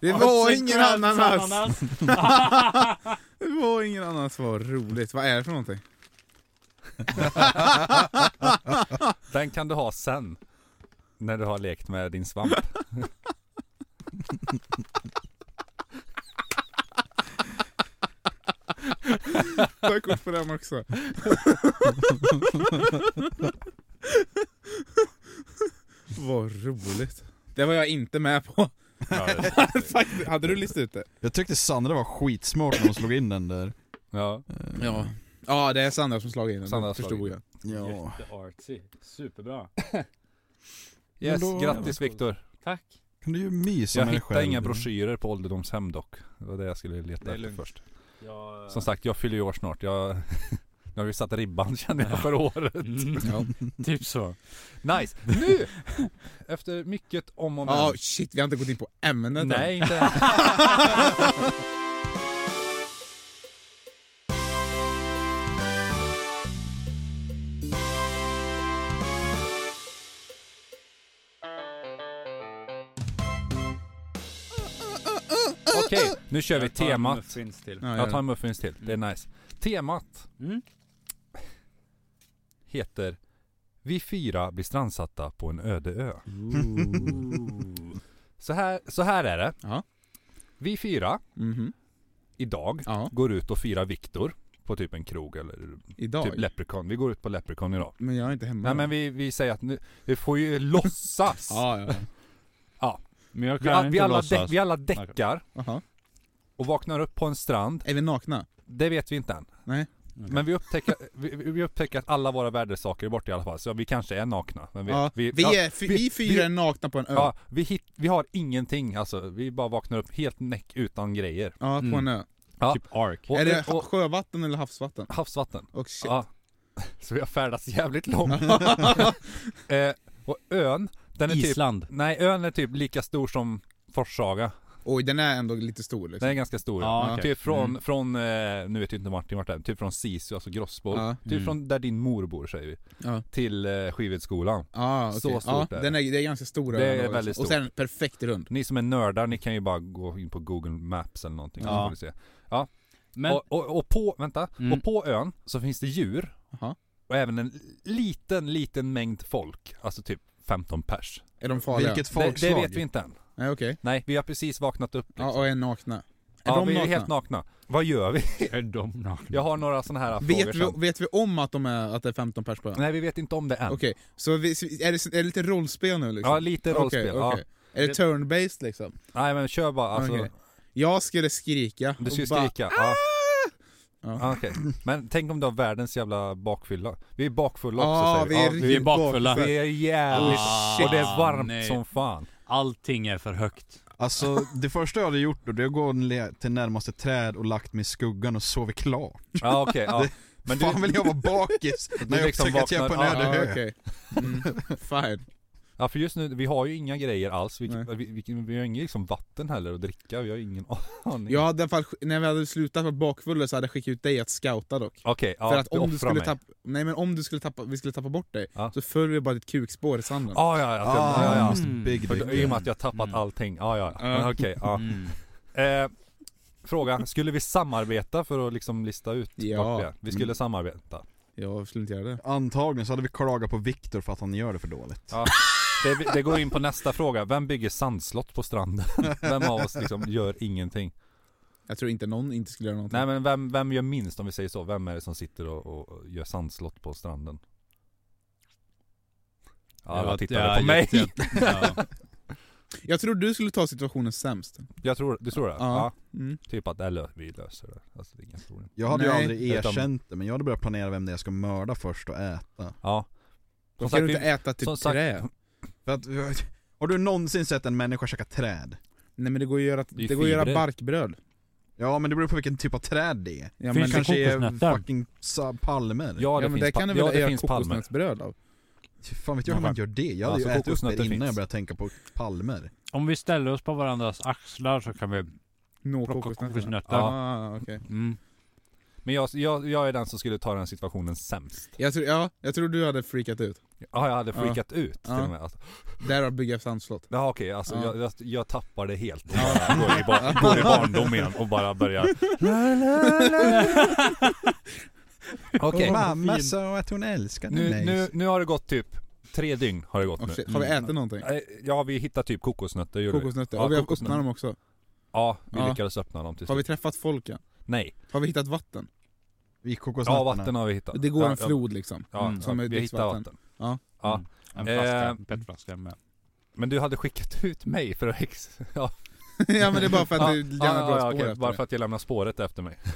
B: Det var ingen ananas! Det var ingen ananas, vad roligt. Vad är det för någonting?
A: Den kan du ha sen. När du har lekt med din svamp.
B: Ta kort på den också. vad roligt. Det var jag inte med på.
A: Ja, det-
B: Faktiskt, hade du listat ut det?
C: Jag tyckte Sandra var skitsmart när hon slog in den där. Eh,
A: ja.
B: Ja. Ja, det är Sandra som slagit in den.
A: Sandra
B: Sandra förstod
A: slagit.
B: jag.
C: Ja.
D: Jätteartsy. Superbra.
A: Yes,
C: Men då-
A: grattis Viktor.
D: Tack.
C: Kan du ju mysa
A: Jag
C: med dig
A: hittade
C: själv?
A: inga broschyrer på ålderdomshem dock. Det var det jag skulle
D: Det
A: leta
D: är
A: efter
D: lugnt.
A: först.
D: Jag,
A: Som sagt, jag fyller ju år snart. Jag, nu har vi satt ribban känner jag för året.
D: Mm,
B: Ja.
D: typ så.
A: Nice! Nu! Efter mycket om och men.
B: Ja, shit, vi har inte gått in på ämnet än.
A: Nej, inte än. Okej, nu kör vi
D: Jag tar en
A: temat.
D: muffins till.
B: Ja,
A: Jag tar
B: ja.
A: en muffins till, det är nice. Temat
D: Mm.
A: heter Vi fyra blir strandsatta på en öde ö. Så här, så här är det.
B: Ja.
A: Vi fyra
B: Mhm.
A: idag
B: Ja,
A: går ut och firar Viktor på typ en krog eller
B: idag.
A: typ Leprechaun. Vi går ut på Leprechaun idag.
B: men jag är inte hemma.
A: Nej men vi, vi säger att nu, vi får ju låtsas.
B: Ja, ja.
D: Men jag
A: vi,
D: kan
A: a- vi,
D: inte
A: alla
D: låtsas.
A: dä- vi alla däckar
B: Aha.
A: och vaknar upp på en strand.
B: Är vi nakna?
A: Det vet vi inte än.
B: Nej.
A: Men vi upptäcker, vi, vi upptäcker att alla våra värdesaker är borta i alla fall. Så vi kanske är nakna. Men vi,
B: ja. Vi,
A: ja,
B: är, vi, vi fyra är nakna på en ö. Ja,
A: Ja, vi, hit, vi har ingenting alltså. Vi bara vaknar upp helt näck utan grejer.
B: på en ö.
A: Ja.
D: Typ Ark.
A: Mm. Och,
B: är det
A: och,
B: sjövatten eller havsvatten?
A: havsvatten.
B: Och shit.
A: Ja. Så vi har färdats jävligt långt. eh, och ön, den är typ...
D: Island.
A: Nej, ön är typ lika stor som Forshaga.
B: Oj, den är ändå lite stor liksom.
A: Den är ganska stor.
D: Ja,
A: ja.
D: okej.
A: Typ från,
D: Mm.
A: från eh, nu vet ju inte Martin vart det är, typ från Sisu, alltså Grossbo.
B: Ja,
A: Typ
D: Mm.
A: från där din mor bor säger vi.
B: Ja.
A: Till eh, Skidvedskolan.
B: ja, okej.
A: Så stort
B: ja,
A: är det.
B: den är, det är ganska stor
A: Det
B: ö
A: är
B: ändå,
A: väldigt
B: liksom. Och
A: stort.
B: sen perfekt rund.
A: Ni som är nördar, ni kan ju bara gå in på Google Maps eller någonting.
D: Ja.
A: Så får ni se.
D: Men,
A: Och, och, och på, vänta,
D: Mm.
A: och på ön så finns det djur.
B: Aha.
A: Och även en liten, liten mängd folk. Alltså typ 15 pers.
B: Är de farliga?
C: Vilket
A: Det, det
C: folkslag.
A: vet vi inte än.
B: Nej, okej.
A: Nej, vi har precis vaknat upp liksom.
B: Ja, och är nakna. Är
A: Ja,
B: de
A: vi är
B: nakna?
A: helt nakna. Vad gör vi?
D: är de nakna?
A: Jag har några sådana här frågor
B: Vet
A: sen.
B: vi, vet vi om att, de är, att det är 15 pers på ön?
A: Nej, vi vet inte om det än.
B: Okej, så vi, så är, det, är det lite rollspel nu liksom?
A: Ja, lite rollspel.
B: Okej, okej. Är det turn-based liksom?
A: Ja. Nej men kör bara, alltså.
B: Okej. Jag skulle skrika
A: Du ska ju
B: och bara- "Ah!"
A: skrika. Ja.
B: Ja.
A: Ja, okej. Men tänk om du har världens jävla bakfylla. Vi är bakfulla
B: Ja,
A: också
B: vi är
A: säger vi.
B: riktigt
D: vi är bakfulla.
A: Ja, vi är jävligt...
D: Ah,
A: och det är varmt
D: nej.
A: som fan.
D: Allting är för högt.
C: Alltså det första jag hade gjort då, det är att gå le- till närmaste träd och lagt mig i skuggan och sovit klart.
A: Ja okej, ja. Men
C: Men
A: du,
C: Fan vill jag vara bakis när jag
A: liksom
C: upptäcker att jag är på en
A: vaknar-
C: öde
B: Ja,
C: ö.
B: okej. Mm. Fine.
A: ja för just nu, vi har ju inga grejer alls. Vi,
B: Nej.
A: vi, vi, vi har inget liksom vatten heller att dricka, vi har ingen aning.
B: Jag hade i alla fall, när vi hade slutat vara bakfulla så hade jag skickat ut dig att scouta dock.
A: Okej, ja,
B: För att om du
A: offrar
B: skulle
A: mig.
B: tappa, nej men om du skulle tappa, vi skulle tappa bort dig,
A: Ja.
B: så följer vi bara ditt kukspår i sanden.
A: Ah, ja, ja, ja,
C: Ah,
A: ja, ja.
C: Mr. Big
A: För, då- I och
C: Dick.
A: med att jag har tappat
D: Mm.
A: allting, ah, ja ja.
B: Ja.
A: Men Okej, ja.
D: Mm.
A: Eh, fråga, skulle vi samarbeta för att liksom lista ut
B: Ja. Mm.
A: vart vi är? Vi skulle samarbeta.
B: Jag skulle inte göra det.
C: Antagligen så hade vi klagat på Viktor för att han gör det för dåligt.
A: Ja. Det, det går in på nästa fråga, vem bygger sandslott på stranden? Vem av oss liksom gör ingenting?
B: Jag tror inte någon inte skulle göra någonting.
A: Nej men vem, vem gör minst om vi säger så? Vem är det som sitter och, och och gör sandslott på stranden? Ja, Alla
D: Jag-
A: tittade
D: jag-
A: på mig!
D: jag- Ja.
B: Jag tror du skulle ta situationen sämst.
A: Jag tror, du tror det? Ja.
B: Ja. Mm.
A: typ att, eller vi löser det. Alltså det är inga problem.
C: Jag hade ju
B: Nej.
C: aldrig
A: Utan-
C: erkänt det, men jag hade börjat planera vem det är jag ska mörda först och äta.
A: Ja. Som
B: Kan
A: sagt,
B: du inte
A: vi,
B: äta
A: som
B: typ
A: sagt-
B: trä?
C: För att, har du någonsin sett en människa käka träd?
B: Nej men det går ju att göra,
A: Det är
B: det går att göra
A: fibrer.
B: barkbröd.
C: Ja men det beror på vilken typ av träd det är.
B: Ja, men,
D: Finns det
C: kanske
D: kokosnötter?
C: är fucking sa- palmer.
A: Alltså, ja, det
B: ja, men
A: finns,
B: det
A: pa-
B: kan du
A: ja,
B: väl
A: det
B: göra
A: finns palmer.
B: kokosnötsbröd av?
C: Fan vet jag hur man gör det? Jag hade
A: Alltså,
C: ju ätit upp det
A: kokosnötter
C: innan jag
A: finns.
C: började tänka på palmer.
D: Om vi ställer oss på varandras axlar så kan vi
B: Nå
D: plocka
B: kokosnötter.
D: kokosnötter.
B: Ah, okej.
D: Mm.
A: Men jag, jag, jag är den som skulle ta den situationen sämst.
B: Jag tror, ja, jag tror du hade freakat ut.
A: Ja, jag hade
B: Ja.
A: freakat ut till
B: Ja.
A: och med. Alltså,
B: Därav bygga sandslott.
A: Ja okej, alltså
B: Ja.
A: Jag, jag, jag tappar det helt och bara går i, bar, går i barndom igen och bara börjar Okej,
C: Mamma sa att hon älskade
A: nu, nu, nu har det gått typ tre dygn har det gått
B: Och
A: nu.
B: shit, Har vi ätit någonting?
A: Eh, Ja vi hittar typ kokosnötter gjorde vi.
B: Kokosnötter?
A: Ja,
B: och vi har
A: kokosnötter.
B: öppnat dem också.
A: Ja, vi
B: Ja.
A: lyckades öppna dem till
B: Har vi
A: slut.
B: träffat folk än?
A: Nej,
B: Har vi hittat vatten?
C: I kokosnötterna.
A: ja vatten har vi hittat.
B: Det går
A: ja,
B: en flod liksom.
A: Ja, ja,
D: Mm.
A: ja
B: som
A: vi
B: är
A: hittar
B: dricksvatten.
A: vatten.
B: Ja.
A: Ja.
D: Mm. En flaska,
A: Eh.
D: en petflaska med.
A: Men du hade skickat ut mig för att ex... Ja,
B: ja men det är bara för att
A: ja,
B: du
A: ja,
B: gärna
A: ja,
B: drar
A: okej,
B: spår
A: bara för
B: efter
A: att jag lämnar spåret efter mig.
B: det.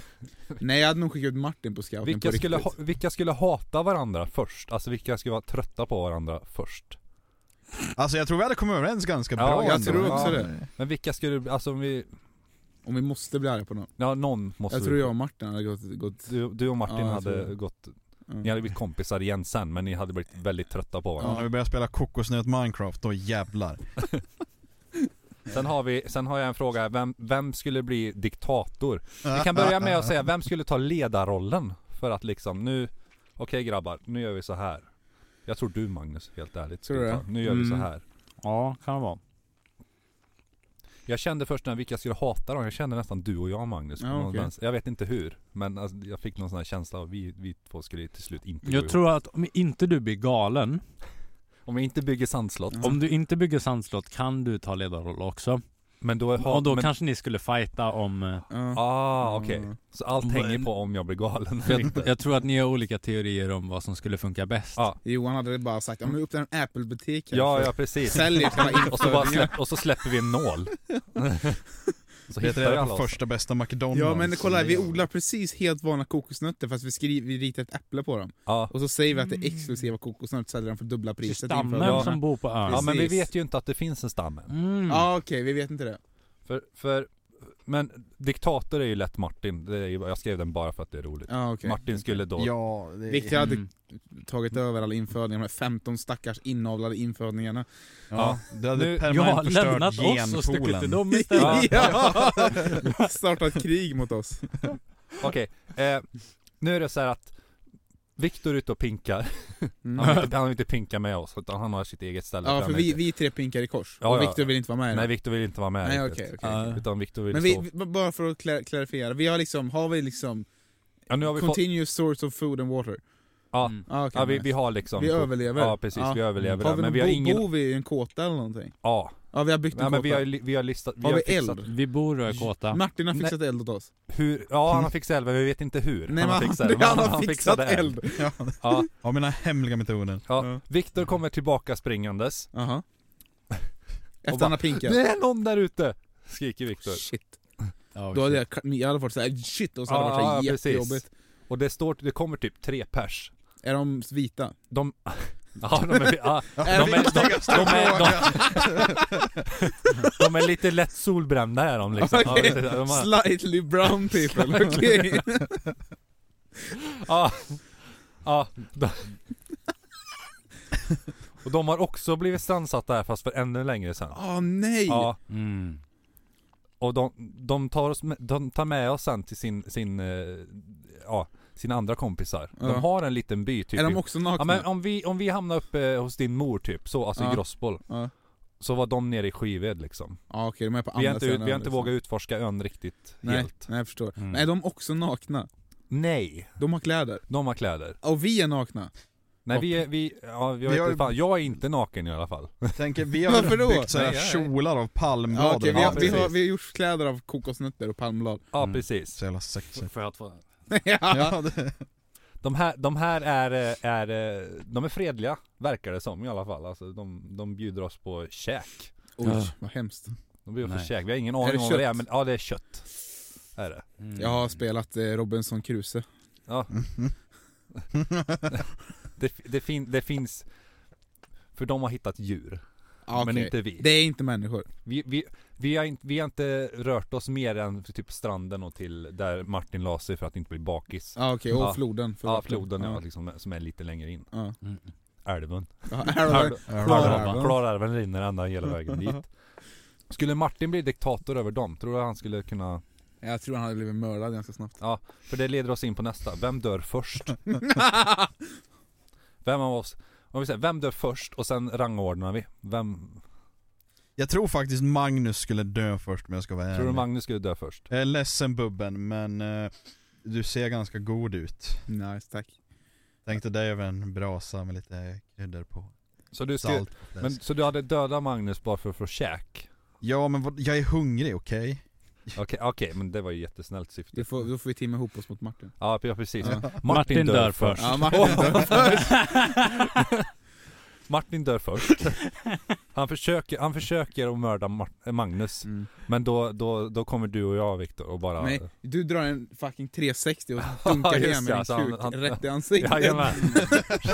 B: Nej jag hade nog skickat ut Martin på scouten
A: Vilka
B: på
A: skulle, ha,
B: riktigt.
A: vilka skulle hata varandra först? Alltså vilka skulle vara trötta på varandra först?
C: Alltså jag tror vi hade kommit överens ganska
A: Ja,
C: bra
A: jag
C: ändå.
A: tror också
B: det.
A: Men vilka skulle, alltså om vi,
B: liksom. Om vi måste bli arga på någon.
A: ja någon måste
B: Jag
A: vi-
B: tror jag och Martin hade gått... gått
A: du, du och Martin
B: Ja, jag tror
A: hade
B: det.
A: gått,
B: mm.
A: ni hade blivit kompisar igen sen men ni hade blivit väldigt trötta på
C: Ja,
A: varandra.
C: när vi börjar spela kokosnöt Minecraft, då jävlar.
A: Sen har vi, sen har jag en fråga, vem, vem skulle bli diktator? Vi
B: Ah,
A: kan börja med att säga, vem skulle ta ledarrollen? För att liksom nu, okej grabbar, nu gör vi så här. Jag tror du Magnus, helt ärligt.
B: Tror
A: skulle
B: du
A: ta, nu gör vi så
D: Mm.
A: här.
D: Ja, kan det vara.
A: Jag kände först när vilka jag skulle hata dem, jag kände nästan du och jag Magnus.
B: Ja,
A: på
B: okej.
A: någonstans. Jag vet inte hur, men alltså, jag fick någon sån här känsla av vi, vi två skulle till slut inte gå
D: Jag
A: ihop.
D: tror att om inte du blir galen
A: Om vi inte bygger sandslott.
B: Ja.
D: Om du inte bygger sandslott kan du ta ledarroll också.
A: Men då har...
D: Och då
A: men,
D: kanske ni skulle fighta om... eh,
B: Ja.
A: Ah, okej.
B: Mm.
A: Så allt
D: Men-
A: hänger på om jag blir galen eller
D: Jag,
A: inte.
D: jag tror att ni har olika teorier om vad som skulle funka bäst.
A: Ja.
B: Johan hade bara sagt, ja men upp till en Apple-butik här
A: Ja,
B: för-
A: ja precis.
B: Säljer själva
A: Och så, bara
B: infödingarna.
A: släpp, och så släpper vi en nål. så
C: Det
A: hittar vi
C: är
A: alla
C: på
A: oss.
C: första bästa McDonalds.
B: Ja men kolla, vi odlar precis helt vanliga kokosnötter fast vi, skriver, vi ritar ett äpple på dem.
A: Ja.
B: Och så säger vi att det är exklusiva kokosnötter, säljer dem för dubbla priset.
D: Stammen
A: Ja.
D: som bor på ön.
A: ja, men vi
B: precis.
A: vet ju inte att det finns en stam än.
D: Mm.
B: Ja ah, okej, vi vet inte det.
A: För, för, men diktator är ju lätt Martin. Det är ju, jag skrev den bara för att det är roligt.
B: Ja okej.
A: Martin skulle då...
C: Ja, det
B: Viktigt hade
A: Mm.
B: tagit över alla infödingar, de här 15 stackars inavlade infödingarna.
C: Ja, det hade
D: Nu, jag har
C: permanent
D: lämnat
C: förstört
D: oss och stuckit till
C: genpoolen.
D: dem istället.
B: ja! Startat krig mot oss.
A: Okej, eh, nu är det så här att Viktor är ute och pinkar. Han
B: Mm.
A: vill, inte, han vill inte pinka med oss, utan han har sitt eget ställe.
B: Ja
A: där
B: för
A: han
B: vi,
A: inte-
B: vi tre pinkar i kors,
A: Ja,
B: och
A: ja.
B: Viktor vill inte vara med i
A: Nej,
B: det.
A: Viktor vill inte vara med.
B: Nej,
A: riktigt.
B: okej, okej, okej.
D: Ja.
A: Utan Viktor vill
B: Men
A: stå...
B: vi, vi- bara för att kla- klarifiera, vi har liksom, har vi liksom
A: Ja, nu har vi fått...
B: continuous source of food and water?
A: Ja.
D: Mm.
B: Ah, okej,
A: Ja, vi,
B: nice.
A: vi har liksom...
B: Vi överlever.
A: Ja, precis. Vi överlever.
B: Har vi
A: men vi har
B: bo,
A: ingen...
B: Bor vi i en kåta eller någonting?
A: Ja.
B: Ja vi har byggt en
A: Nej, men
B: kåta.
A: vi har, li- vi har listat...
B: Har vi
A: fixat
B: eld?
D: Vi bor och är kåta.
B: Martin har fixat eld åt oss.
A: Hur... Ja, han har fixat eld, men vi vet inte hur.
B: Mm. Nej, men
A: har
B: han,
A: fixat
B: han, har fixat
A: fixade
B: eld.
C: Ja,
A: Ja,
C: ja, mina hemliga metoder.
A: ja. Viktor kommer tillbaka springandes.
B: Jaha.
A: Och
B: Efter
A: bara,
B: han har pinkat.
A: Det är någon där ute! Skriker Viktor.
B: Shit.
D: Ja,
B: Då hade
D: exakt.
B: jag, jag hade varit såhär shit och så hade det
A: Ja,
B: varit såhär
A: ja, precis.
B: jättejobbigt.
A: Och det står... Det kommer typ tre pers.
B: Är de vita?
A: De... Ja, de är... Ja, de är, liksom. de, de, är, de, de är lite lätt solbrända är de liksom. Ja,
B: Okej.
A: de har-
B: Slightly brown people, okej.
A: Ja. Ja. De... Och de har också blivit strandsatta här fast för ännu längre sen.
B: Åh Ah, nej!
A: Ja.
D: Mm.
A: Och de, de, tar oss med, de tar med oss sen till sin, sin, eh, ja, sina andra kompisar.
B: Ja.
A: De har en liten by typ.
B: Är de
A: i-
B: också
A: ja,
B: nakna?
A: men om vi, om vi hamnar uppe hos din mor typ, så, alltså
B: Ja.
A: i Grossboll.
B: Ja.
A: Så var de nere i Skived liksom.
B: Ja, okej, de är på
A: Vi
B: andra
A: har inte, ut, vi har inte
B: liksom.
A: vågat utforska ön riktigt
B: Nej,
A: helt.
B: nej jag förstår.
D: Mm.
B: Men är de också nakna?
A: Nej,
B: De har kläder.
A: de har kläder.
B: Och vi är nakna.
A: Nej
C: Och-
A: vi, är- vi, ja, jag, vet
C: har-
A: inte fan. jag är inte naken i alla fall.
C: Tänker, vi
B: har Varför
C: har
B: då?
C: byggt så här
A: Nej, nej.
C: kjolar av
B: Ja,
C: palmbladen.
B: okej, vi, har, vi, har,
C: precis.
B: vi har gjort kläder av kokosnötter och palmblad.
A: Ja
D: Mm.
A: precis.
C: Så jävla sexigt.
D: Får jag två?
B: ja.
C: Ja, det...
A: De här, de här är, eh, är, eh, de är fredliga, verkar det som i alla fall. Alltså, de, de bjuder oss på käk.
B: Oj, vad hemskt.
A: De bjuder oss på
D: Nej.
A: käk, vi har ingen
B: Är
A: aning
B: det
A: om vad det är
B: kött?
A: men ja det är kött. Är det.
D: Mm.
B: Jag har spelat eh, Robinson Crusoe.
A: Ja. det, det, fin, det finns, för de har hittat djur.
B: Ja,
A: Men
B: okej.
A: inte vi.
B: Det är inte människor.
A: Vi, vi, vi, har inte, vi har inte rört oss mer än till typ stranden och till där Martin la sig för att inte bli bakis.
B: Ja, okej, och
A: Ja.
B: floden. för
A: Ja,
B: vatten.
A: floden ja.
B: Ja.
A: liksom, som är lite längre in.
B: Ja.
D: Mm.
A: Älven.
B: Ja, här har vi-
A: Klarälven. Klarälven rinner ända hela vägen dit. Skulle Martin bli diktator över dem, tror du han skulle kunna...
B: Jag tror han hade blivit mördad ganska snabbt.
A: För det leder oss in på nästa, vem dör först? Vem av oss... Om vi säger, vem dör först och sen rangordnar vi? Vem...
C: Jag tror faktiskt Magnus skulle dö först om jag ska vara ärlig.
A: Tror du Magnus skulle dö först?
C: Jag är ledsen Bubben, men eh, du ser ganska god ut.
B: nice, tack.
C: Tänkte dig över en brasa med lite kryddor på.
A: Så du, skulle,
C: Salt. och
A: men,
C: fläsk.
A: så du hade dödat Magnus bara för att få käk?
C: Ja men vad, jag är hungrig, okej?
A: Okej, okej, men det var ju jättesnällt syfte.
B: Det får, då får vi timma ihop oss mot Martin.
A: Ja, ja, precis.
B: Ja.
A: Martin,
D: Martin
A: dör,
D: dör
A: först.
B: Ja, Martin dör först.
A: Martin dör först. Han försöker, han försöker att mörda Mar- Magnus.
B: Mm.
A: Men då, då, då kommer du och jag Viktor och bara...
B: Nej, du drar en fucking 360 och dunkar
A: just
B: ner
A: det,
B: med din
A: alltså, han-
B: kuk
A: han-
B: rätt i ansiktet.
A: Jajamän.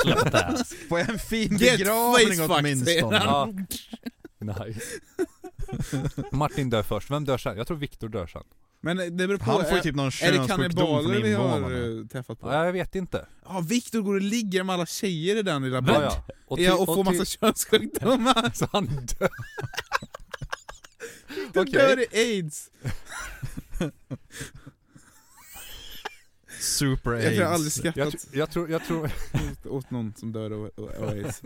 D: Släpp det här.
C: Får jag en fin
B: Get
C: begravning
B: facefucked, säger
C: åtminstone?
B: han.
A: Ja. Nice. Martin dör först, vem dör sen? Jag tror Viktor dör sen.
B: Men det beror på,
C: Han får ju
B: är-
C: typ någon
B: är det
C: könssjukdom
B: kannibaler
C: från
B: vi har
C: invånarna.
B: eh, träffat på?
A: Ja, jag vet inte.
B: Ja, Viktor går och ligger med alla tjejer i den lilla
A: Ja,
B: byn.
A: ja. Och,
B: Ja, och får
A: till-
B: massa könssjukdomar.
A: Så han dör.
B: Du
A: Okej.
B: dör i aids.
C: Super
B: Jag tror jag aldrig
C: aids.
A: Jag,
B: skrattat
A: tr- jag, tror, jag, tror,
B: åt någon som dör av av aids.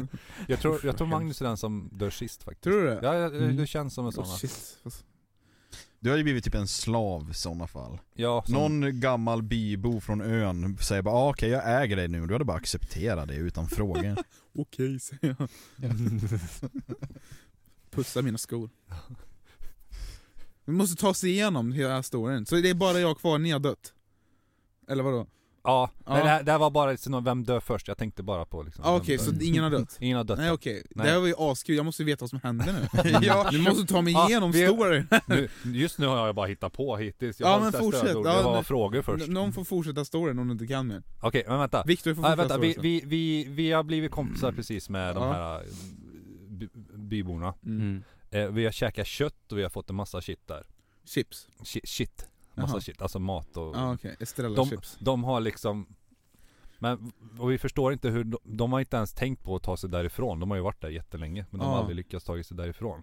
A: jag, tror, jag tror Magnus är den som dör sist faktiskt.
B: Tror du det?
A: Ja, jag,
D: Mm.
A: du känns som en sån.
B: Åh, shit. Fast-
C: Du har ju blivit typ en slav i sådana fall.
A: Ja, som,
C: Någon gammal bybo från ön säger bara ah, okej jag äger dig nu, du hade bara accepterat det utan fråga.
B: Okej, säger jag.
D: Mm.
B: Pussa mina skor. Vi måste ta oss igenom hela storyn, så det är bara jag kvar, ni har dött. Eller
A: ja.
B: vadå? Ja.
A: Nej, det, här, det här var bara liksom, vem dör först? Jag tänkte bara på liksom,
B: Ah,
A: vem
B: Okej,
A: dör.
B: så ingen har dött?
A: Ingen har dött.
B: Nej okej,
A: Nej.
B: det här var ju askul, jag måste ju veta vad som händer nu.
C: ja,
B: Ni måste ta mig
A: Ja,
B: igenom
A: Ah, vi-
B: storyn.
A: Nu, just nu har jag bara hittat på hittills. Jag
B: Ja,
A: har
B: men
A: inte
B: fortsätt.
A: stödord,
B: Ja,
A: jag har
B: men-
A: frågor först.
B: N- Någon får fortsätta storyn om du inte kan mer.
A: Okej, men vänta.
B: Viktor får
A: Nej,
B: fortsätta
A: vänta, vi,
B: storyn
A: vi, vi, vi har blivit kompisar precis med de
B: Ja.
A: här eh, by, byborna.
B: sen. Mm.
A: Eh, vi har käkat kött och vi har fått en massa shit där.
B: Chips.
A: Shit, shit. massa
B: Jaha.
A: shit, alltså mat och...
B: Ja ah, okej, Estrella
A: de,
B: chips.
A: de har liksom... Men, och vi förstår inte hur, de, de har inte ens tänkt på att ta sig därifrån. De har ju varit där jättelänge, men de har
B: Ja.
A: aldrig lyckats ta sig därifrån.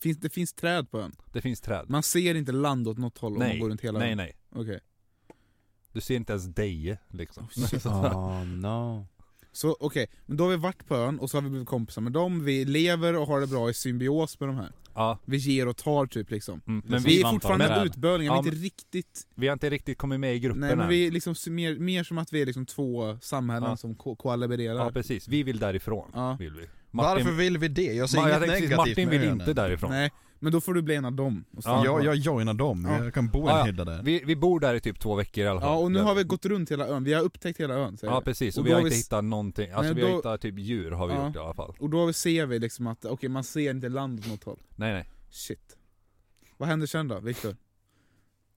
B: Finns, det finns träd på ön.
A: Det finns träd.
B: Man ser inte land åt något håll om man
A: nej,
B: går runt hela
A: nej,
B: ön.
A: nej.
B: Okej.
A: Du ser inte ens Deje liksom.
B: Oh, shit.
D: Oh no.
B: Så okej, men då har vi varit på ön och så har vi blivit kompisar med dem, vi lever och har det bra i symbios med de här.
A: ja,
B: Vi ger och tar typ liksom.
A: mm. Men
D: Som
B: vi
A: vi,
B: är
D: svampar
B: fortfarande
D: med träd.
B: utbölingar,
A: Ja,
B: vi är inte riktigt...
A: vi har inte riktigt kommit med i gruppen
B: Nej men
A: än.
B: vi är liksom s- mer, mer som att vi är liksom två samhällen
A: Ja.
B: som ko- kollabererar.
A: Ja precis, vi vill därifrån.
B: Ja.
A: Vill vi.
C: varför vill vi det?
A: Ma-
C: Jag
A: jag
C: säger inget
A: tänkte precis,
C: negativt
A: Martin
C: med
A: vill
C: önen.
A: inte därifrån.
B: Nej, men då får du bli en av dem. Och stanna
C: Ja,
B: kvar.
C: jag, jag joinar dem,
B: Ja.
C: jag kan bo i
A: Ja, ja.
C: en hydda där.
A: Vi, vi bor där i typ två veckor i alla fall.
B: ja, och nu
A: Där.
B: har vi gått runt hela ön, vi har upptäckt hela ön säger
A: Ja
B: jag.
A: precis, och,
B: Och
A: vi
B: då
A: har
B: har
A: inte
B: vi s-
A: hittat någonting. Alltså
B: Nej,
A: vi har
B: då-
A: hittat typ djur har vi
B: Ja.
A: gjort i alla fall.
B: Och då ser vi liksom att, okej man ser inte land åt något håll.
A: Nej nej.
B: Shit. Vad händer sen då, Viktor?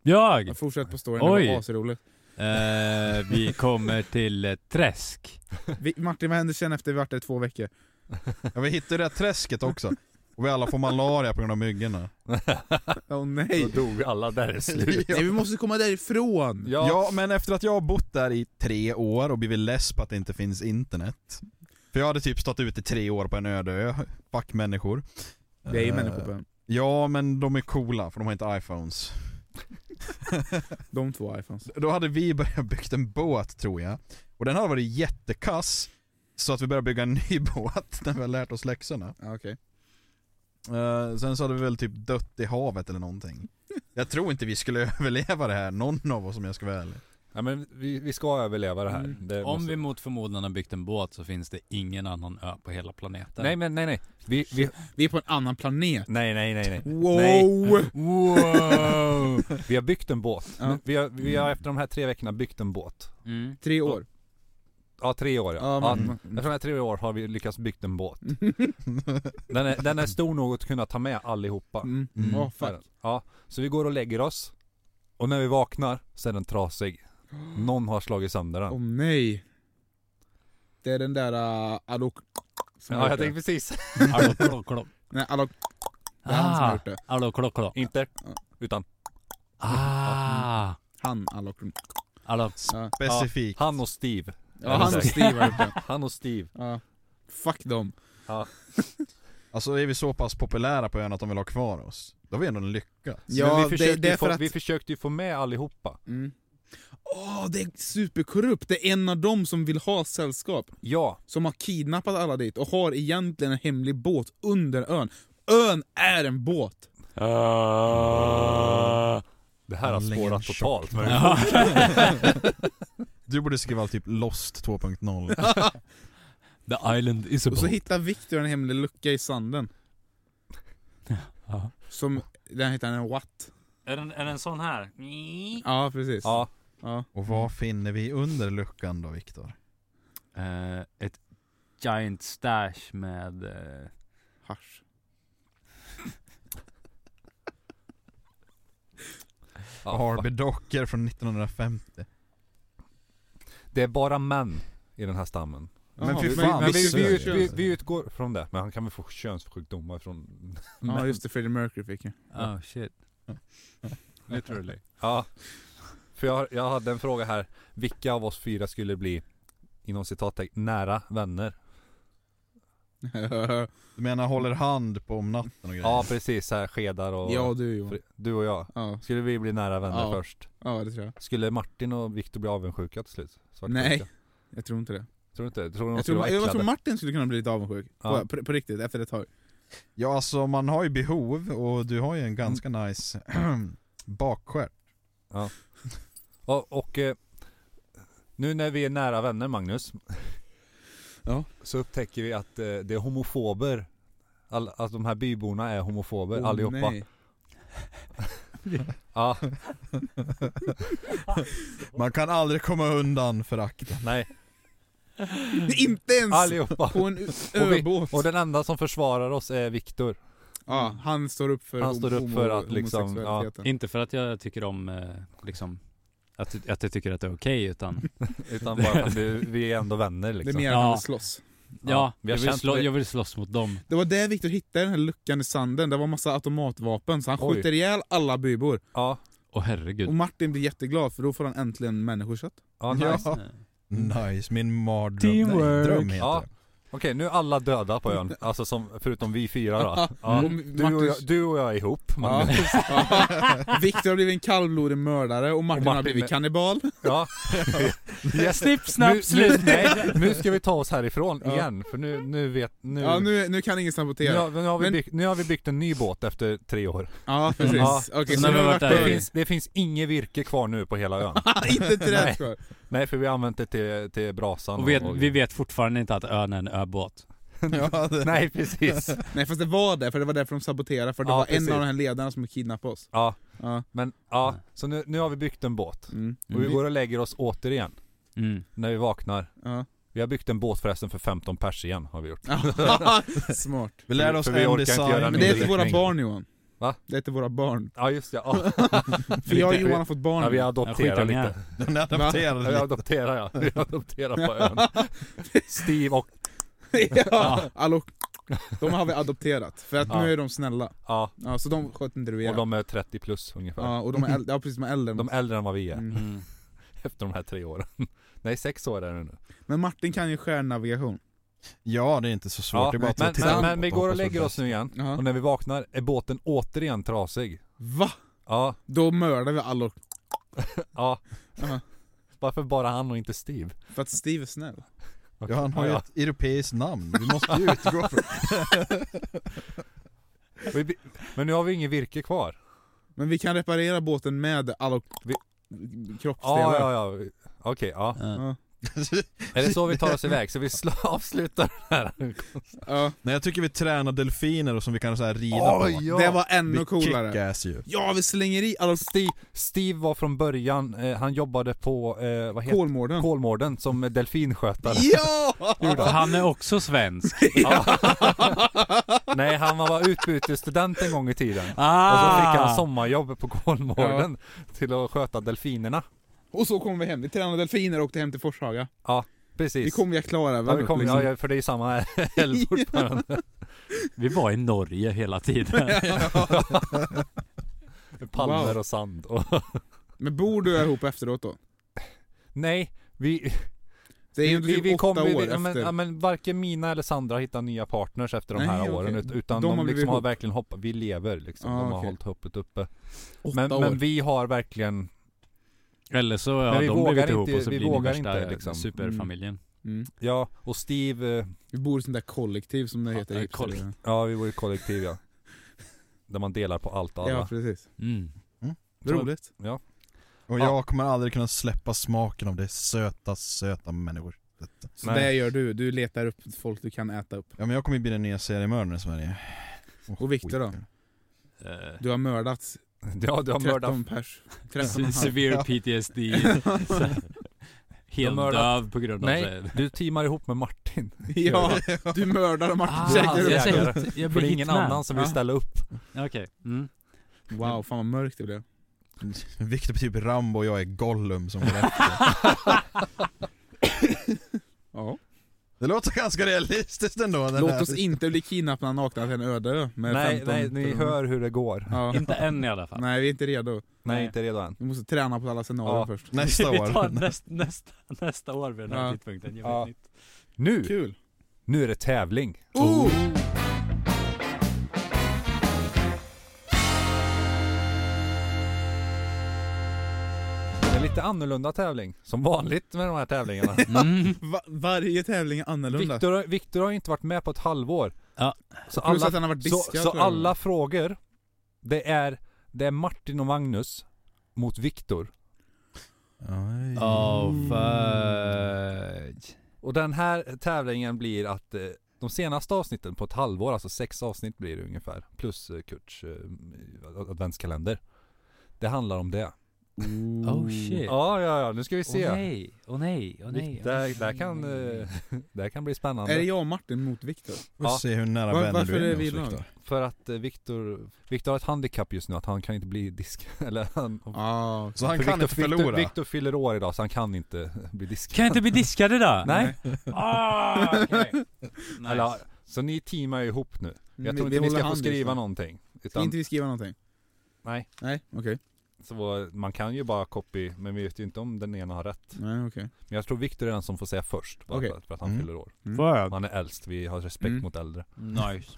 D: Jag!
B: Fortsätt på storyn, det
D: Oj.
B: var asroligt.
D: Eh, vi kommer till eh, Träsk.
B: Vi, Martin, vad händer sen efter vi varit där i två veckor?
C: Ja, vi hittade det där träsket också. Och vi alla får malaria på grund av myggorna.
B: Åh oh,
A: Då
B: nej!
A: dog alla där i slut.
B: nej! Vi måste komma därifrån!
A: Ja,
C: Ja. men efter att jag har bott där i tre år och blivit less på att det inte finns internet. För jag hade typ stått ute i tre år på en öde ö. Fuck människor.
B: Det är ju
C: Eh,
B: människor på ön.
C: Ja, men de är coola för de har inte iPhones.
B: De två iPhones.
C: Då hade vi börjat byggt en båt tror jag. Och den hade varit jättekass. Så att vi började bygga en ny båt när vi har lärt oss läxorna.
B: Ja, okej.
C: Eh, sen så hade vi väl typ dött i havet eller någonting. Jag tror inte vi skulle överleva det här, någon av oss om jag ska vara ärlig.
A: ja men vi, vi ska överleva det här.
B: Mm.
A: Det
D: Om
A: måste-
D: vi mot förmodan har byggt en båt så finns det ingen annan ö på hela planeten.
A: Nej men nej nej. Vi, vi...
B: Vi är på en annan planet.
A: Nej nej nej nej.
B: Wow!
A: Nej.
D: Wow!
A: Vi har byggt en båt.
B: Ja.
A: Vi, har, vi har efter de här tre veckorna byggt en båt.
D: Mm.
B: Tre år.
A: Ja tre år ja.
B: Ja, men,
A: ja. Efter de här tre år har vi lyckats byggt en båt. Den är, den är stor nog att kunna ta med allihopa.
B: Mm.
C: Mm.
B: Åh,
A: Är
B: fuck.
A: den. Ja, så vi går och lägger oss. Och när vi vaknar så är den trasig. Någon har slagit sönder den.
B: Mm. Åh nej! Det är den där uh, Alok... som har
A: ja, jag
B: gjort det.
A: tänkte precis.
D: Hallå klå klå.
B: Nej, Alok... Det är han som har
D: Ah,
B: gjort det.
D: hallå klå klå.
A: Inte,
B: Ja.
A: utan
D: Ah,
B: Han Alok...
D: hallå.
B: Ja,
C: Specifikt.
A: han och Steve.
B: ja han och Steve har gjort det.
A: Han och Steve.
B: Ja. Fuck dem.
C: Alltså är vi så pass populära på ön att de vill ha kvar oss. Då har vi ändå en lycka.
A: Men
B: Ja,
A: vi,
B: det,
A: försökte
B: det
A: ju
B: är för
A: få,
B: att...
A: vi försökte ju få med allihopa.
B: Mm. Åh, det är superkorrupt! Det är en av dem som vill ha sällskap.
A: Ja,
B: Som har kidnappat alla dit och har egentligen en hemlig båt under ön. Ön är en båt!
D: Ah.
B: Ah.
A: det här har
C: Lägg en
A: spårat
C: tjock.
A: totalt. Men
D: Ja.
C: Du borde skriva typ Lost 2.0.
D: The island is a
B: Och så
D: boat.
B: hittar Victor en hemlig lucka i sanden.
D: Ja.
B: Som, den heter en watt.
D: Är den, är den sån här?
B: Ja, precis.
A: Ja,
B: Ja.
C: Och vad finner vi under luckan då Viktor?
D: Eh, ett giant stash med... eh,
B: Hasch.
A: ja,
C: Harvey
A: fuck.
C: Docker från 1950.
A: det är bara män i den här stammen.
C: Men fy
B: vi-
C: fan,
A: Men
B: men
A: vi,
C: så
A: vi,
C: är
A: ut-
C: det.
A: vi, vi utgår från det. Men han kan väl få könssjukdomar från
B: Ja, just det. Freddie Mercury fick jag.
D: Oh shit. Literally.
A: Ja. För jag, jag hade en fråga här. Vilka av oss fyra skulle bli, inom citattecken, nära vänner?
C: Du menar håller hand på om natten och grejer?
A: Ja precis, så här skedar och...
B: ja, du Johan.
A: Fr- Du och jag.
B: Ja,
A: Skulle vi bli nära vänner
B: Ja.
A: först?
B: ja, det tror jag.
A: Skulle Martin och Viktor bli avundsjuka till slut? Svartsjuka?
B: Nej. Jag tror inte det.
A: Tror du inte? Tror du de
B: Jag
A: skulle
B: tror,
A: vara
B: jag tror
A: äcklade?
B: Martin skulle kunna bli lite avundsjuk.
A: Ja.
B: På, på, på riktigt, efter ett tag.
C: Ja alltså man har ju behov och du har ju en ganska
A: Mm.
C: nice bakskärm.
A: Och, och eh, nu när vi är nära vänner Magnus.
B: Ja.
A: Så upptäcker vi att eh, det är homofober. All, att de här byborna är homofober
B: Åh,
A: allihopa.
B: nej.
A: Ja,
C: Man kan aldrig komma undan förakten.
A: nej.
B: Det är Inte ens
A: Allihopa.
B: på en ö-
A: Och vi-
B: öbåt!
A: Och den enda som försvarar oss är Viktor.
B: Ja, han står upp för,
A: Han står upp för att liksom, ja,
B: homosexualiteten.
D: Inte för att jag tycker om eh, liksom att, att jag tycker att det är okej utan
A: Utan bara för att det- vi är ändå vänner
B: Det är
A: liksom.
B: mer än
D: Ja.
B: att slåss.
D: Ja,
A: vi har
D: jag, vill
A: känt
D: slå,
A: det.
D: jag vill slåss mot dem
B: Det var där Viktor hittade den här luckan i sanden, det var massa automatvapen så han
A: Oj.
B: skjuter ihjäl alla bybor.
A: Ja,
D: Åh herregud
B: Och Martin blir jätteglad för då får han äntligen människokött.
A: ja, nice.
C: Ja. Nice, min mardröm. Nej,
D: Teamwork.
C: dröm heter
A: Ja.
C: det.
A: Okej, nu är alla döda på ön. Alltså som, förutom vi fyra då. Ja.
B: Mm.
A: Du, och jag, du och jag är ihop
B: Ja.
A: Magnus.
B: Viktor har blivit en kallblodig mördare och Martin,
A: Och Martin
B: har blivit
A: är-
B: kannibal.
A: Ja. Yes.
D: Snipp,
A: nu,
D: snapp,
A: nu,
D: slut!
A: nej, nu ska vi ta oss härifrån
B: Ja.
A: igen, för nu, nu vet... Nu,
B: Ja, nu, nu kan ingen
A: nu,
B: sabotera.
A: har, nu, har vi
B: Men-
A: byggt, nu har vi byggt en ny båt efter tre år.
B: Ja, precis.
A: Ja.
B: Okej,
D: Så
B: så
D: när
B: nu
D: vi
B: har
D: har
B: varit
D: varit
A: Det
D: Oj.
B: där.
A: finns, det finns inget virke kvar nu på hela ön.
B: Inte träd kvar.
A: Nej, för vi har använt det till, till brasan.
D: Och vet, vi vet fortfarande inte att ön är en öbåt
C: Ja, det-
A: Nej, precis.
B: Nej fast det var det, för det var därför de saboterade, för det
A: Ja,
B: var
A: precis.
B: en av de här ledarna som kidnappade oss.
A: Ja,
B: Ja.
A: men ja, så nu, nu har vi byggt en båt.
B: Mm.
A: Och vi går och lägger oss återigen,
D: mm.
A: när vi vaknar.
B: Ja.
A: Vi har byggt en båt förresten för 15 pers igen, har vi gjort.
B: Smart.
C: Vi lär oss
A: För vi
C: en
A: orkar inte göra
C: design.
B: Men
A: Men
B: det är
A: det
B: till
A: är
B: våra
A: riktning.
B: barn Johan.
A: Va?
B: Det är till våra barn.
A: Ja, just det. Ja,
B: För jag och
A: Lite-
B: Johan har fått barn.
A: ja vi
D: Ja,
A: adopterar
D: skitungar.
A: lite.
C: Den adapterade
A: Ja, vi
C: lite.
A: adopterar ja. Vi adopterar på ön. Steve och...
B: ja. Hallå. De har vi adopterat, för att
A: Ja.
B: nu är de snälla.
A: Ja,
B: Ja, så de sköt inte du
A: och
B: ihjäl.
A: de är 30 plus ungefär.
B: Ja, och de är äldre, ja precis, de är äldre. än
A: De
B: oss.
A: är äldre än vad vi är
B: Mm.
D: Mm.
A: efter de här tre åren. Nej, sex år är det nu.
B: Men Martin kan ju stjärnnavigation.
C: Ja, det är inte så svårt. det är bara
A: men,
C: att
A: men,
C: titta
A: men,
C: upp
A: vi går och
C: hoppas
A: lägger
C: det
A: oss nu igen.
B: Ja.
A: Och när vi vaknar är båten återigen trasig.
B: Va?
A: Ja,
B: Då mördar vi Alok.
A: ja.
B: Ja.
A: Varför bara han och inte Steve?
B: För att Steve är snäll.
C: bästa. Ja, han har ju
A: Ja.
C: ett europeiskt namn. Vi måste ju utgå från
A: Och vi- Men nu har vi ingen virke kvar.
B: Men vi kan reparera båten med Alok.
A: Vi-
B: Kroppsdelar.
A: Ja, ja, ja. Okej, ja.
D: Ja.
A: Är det så vi tar oss iväg? Så vi sl- avslutar den här?
B: Ja.
C: Nej jag tycker vi tränar delfiner och som vi kan så här rida på.
A: ja.
B: Det var ännu
C: Vi
B: coolare.
C: kickass ju.
B: Ja, vi slänger i alla
A: Steve, Steve var från början, eh, han jobbade på, eh, vad heter
B: Kolmården.
A: Kolmården som delfinskötare.
B: Ja!
D: För Han är också svensk
A: Ja. Nej, han var utbytesstudent en gång i tiden.
D: ah.
A: Och så fick han sommarjobb på Kolmården till att sköta delfinerna.
B: Och så kom vi hem. Vi tränade delfiner och åkte hem till Forshaga.
A: Precis.
B: Vi kom via Klarälven.
A: ja, vi kom
B: liksom.
A: ja, ja, för det är ju samma älv fortfarande.
D: Vi var i Norge hela tiden
A: Palmer
B: Wow.
A: och sand och...
B: Men bor du ihop efteråt då?
A: Nej, vi...
B: Det är ju
A: vi,
B: typ
A: vi
B: åtta
A: kom- vi-
B: år
A: vi, ja, men,
B: efter.
A: ja, men varken Mina eller Sandra hittar nya partners efter de
B: Nej,
A: här
B: okej.
A: åren. ut- Utan
B: De
A: de,
B: har blivit
A: liksom har
B: ihop.
A: verkligen hoppat, vi lever liksom.
B: Ah,
A: de har
B: okej.
A: hållit hoppet uppe.
B: åtta
A: Men,
B: år.
A: men vi har verkligen...
D: Eller så har
A: Men vi
D: de
A: vågar
D: blivit ihop
A: inte-
D: och så
A: vi
D: blir det
A: vågar
D: värsta
A: inte, liksom.
D: superfamiljen
B: mm.
A: Ja, och Steve... eh,
B: vi bor i sånt där kollektiv som det
D: Ja,
B: heter
D: ja,
B: i
D: kollektiv.
B: hipster.
A: Ja, vi var i kollektiv ja. Där man delar på allt och alla.
B: Ja, precis.
D: mm.
B: Roligt.
C: Och
A: Ja.
C: jag kommer aldrig kunna släppa smaken av det söta, söta människor.
B: Så
A: Nej.
B: det gör du. Du letar upp folk du kan äta upp.
C: Ja men jag kommer ju bli den nya seriemördaren i Sverige. Åh,
B: Och Viktor då?
C: skit.
D: Eh,
B: Du har mördat
A: Ja, du har mördat,
B: 13 pers. 13 och en halv.
D: Severe PTSD Så-
A: De
D: Helt
A: mördar-
D: döv på grund av
A: Nej,
D: det
A: du teamar ihop med Martin.
B: Ja, du mördar och Martin
A: jag
B: käkar upp.
A: ser- jägare.
D: Ah, jag
A: För det är ingen annan som vill
B: Ja.
A: ställa upp.
D: Okej, mm.
B: Wow, fan vad mörkt det blev.
C: Viktor är typ Rambo och jag är Gollum som går efter.
B: Ja.
C: Det låter ganska realistiskt ändå. Den
B: Låt
C: här.
B: oss inte bli kidnappade och nakna till en öde ö med
A: Nej,
B: 15
A: nej, ni
B: personer.
A: hör hur det går.
B: Ja.
D: inte än i alla fall
B: Nej, vi är inte redo.
A: Nej,
D: Nej.
A: inte redo än.
B: Vi måste träna på alla scenarion
A: Ja.
B: först.
C: Nästa
D: Vi tar
C: år.
D: näst, nästa, nästa år vid den här
B: Ja.
D: tidpunkten, jag
A: Ja.
D: vet inte.
A: Nu,
B: Kul!
A: nu är det tävling.
B: Oh!
A: En lite annorlunda tävling, som vanligt med de här tävlingarna.
D: Mm.
B: Va- varje tävling är annorlunda.
A: Viktor, har- Viktor har ju inte varit med på ett halvår. Så
B: Plus
A: alla,
B: att han har varit
A: så,
B: diskad.
A: så
B: tror jag.
A: alla frågor, det är, det är Martin och Magnus mot Viktor.
D: Oh fudge.
A: Och den här tävlingen blir att eh, de senaste avsnitten på ett halvår, alltså sex avsnitt blir det ungefär, plus eh, Kurts eh, adventskalender. Det handlar om det. Mm.
D: Oh shit.
A: Ja, ja, ja, nu ska vi se.
D: Åh nej, åh nej, åh nej.
A: det, här,
D: åh,
A: det, här kan,
D: nej, nej,
A: eh,
D: nej.
A: det här kan bli spännande.
B: Är det jag och Martin mot Viktor?
C: Får
A: Ja.
C: se hur nära
B: Var-
C: vänner
B: varför
C: du
B: är
C: är
B: vi
C: med
B: lag?
C: oss Viktor.
A: För att eh, Viktor, Viktor har ett handikapp just nu, att han kan inte bli disk... Eller han...
B: Ja.
C: Så han
A: för
C: kan
A: Viktor,
C: inte förlora.
A: Viktor, Viktor fyller år idag så han kan inte bli diskad.
D: Kan jag inte bli diskad idag?
A: Nej.
D: Ah, okej. Nice.
A: Eller, så ni teamar ju ihop
D: Mm,
A: nu. Jag tror
B: Vi-
A: inte ni ska
B: vi Mm, håller
A: få
B: hand
A: skriva
B: just nu.
A: någonting.
B: Ska
A: Utan,
B: inte vi skriva någonting?
A: nej.
B: Nej, okej.
A: Så man kan ju bara copy, men vi vet ju inte om den ena har rätt.
B: Nej, okej.
A: Men jag tror Viktor är den som får säga först, bara
B: Okej.
A: för, att, för att han
C: Mm.
A: fyller år.
D: Fuck.
A: Han är äldst, vi har respekt
B: Mm.
A: mot äldre.
D: Nice.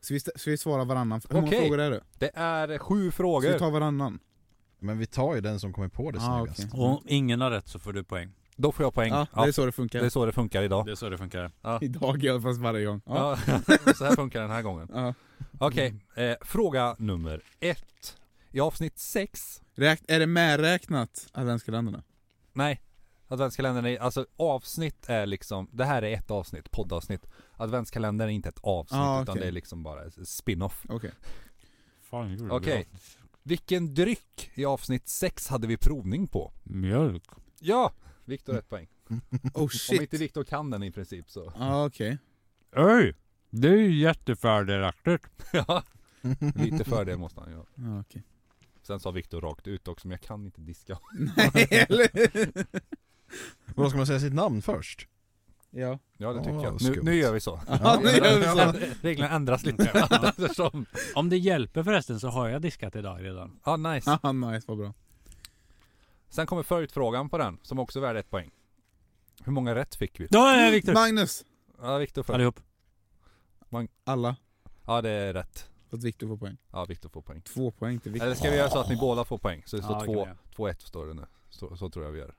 B: Så vi, st- så vi svarar varannan? Hur många
A: Okej.
B: frågor är det?
A: Det är sju
B: Så vi
A: frågor.
B: tar varannan?
C: Men vi tar ju den som kommer på det
B: Ah,
C: snyggast.
B: okej.
D: Om ingen har rätt så får du poäng.
A: Då får jag alltså. poäng.
B: Ja, det är så det funkar.
A: det är så det funkar idag.
D: Det är så det funkar.
B: Idag i alla fall, varje gång. Ja. Mm.
A: Ja. så här funkar den här gången.
B: Ja.
A: Okej, eh, fråga nummer ett. I avsnitt sex,
B: Räk- är det medräknat adventskalendrarna?
A: nej, adventskalendern är, alltså avsnitt är liksom, det här är ett avsnitt, poddavsnitt. Adventskalendern är inte ett avsnitt
B: Ah,
A: utan
B: okej.
A: det är liksom bara ett spin-off.
B: Okej.
D: Fan, gjorde
A: Okej. Vilken dryck i avsnitt sex hade vi provning på?
D: Mjölk.
A: Ja! Viktor ett poäng.
B: Oh
A: Om
B: shit.
A: inte Viktor kan den i princip så.
B: Ja, okej.
D: Öj! Det är ju jättefördelaktigt.
A: ja, lite fördel måste han ju ha.
B: Ja, okej.
A: Sen sa Viktor rakt ut också, men jag kan inte diska.
B: Nej, eller?
C: Och då ska man säga sitt namn först?
B: ja.
A: Ja det
C: Ja,
A: tycker jag. Nu,
C: skumt.
A: nu gör vi så.
B: Ja, nu gör vi så.
A: Reglerna ändras lite. Eftersom-
D: Om det hjälper förresten så har jag diskat idag redan.
A: Ja, nice.
B: Haha, nice, vad bra.
A: Sen kommer förutfrågan på den, som också är värd ett poäng. Hur många rätt fick vi?
D: Då är Viktor!
B: Magnus!
A: Ja, Viktor först.
D: Allihop.
B: Alla.
A: Ja, det är rätt.
B: Fast Viktor får poäng.
A: Ja, Viktor får poäng.
B: Två poäng till Viktor.
A: Eller ska vi göra så att ni båda får poäng? Så det
D: Ja,
A: står
D: det
A: två-
D: kan
A: 2-1 står det nu. Så, så tror jag vi gör.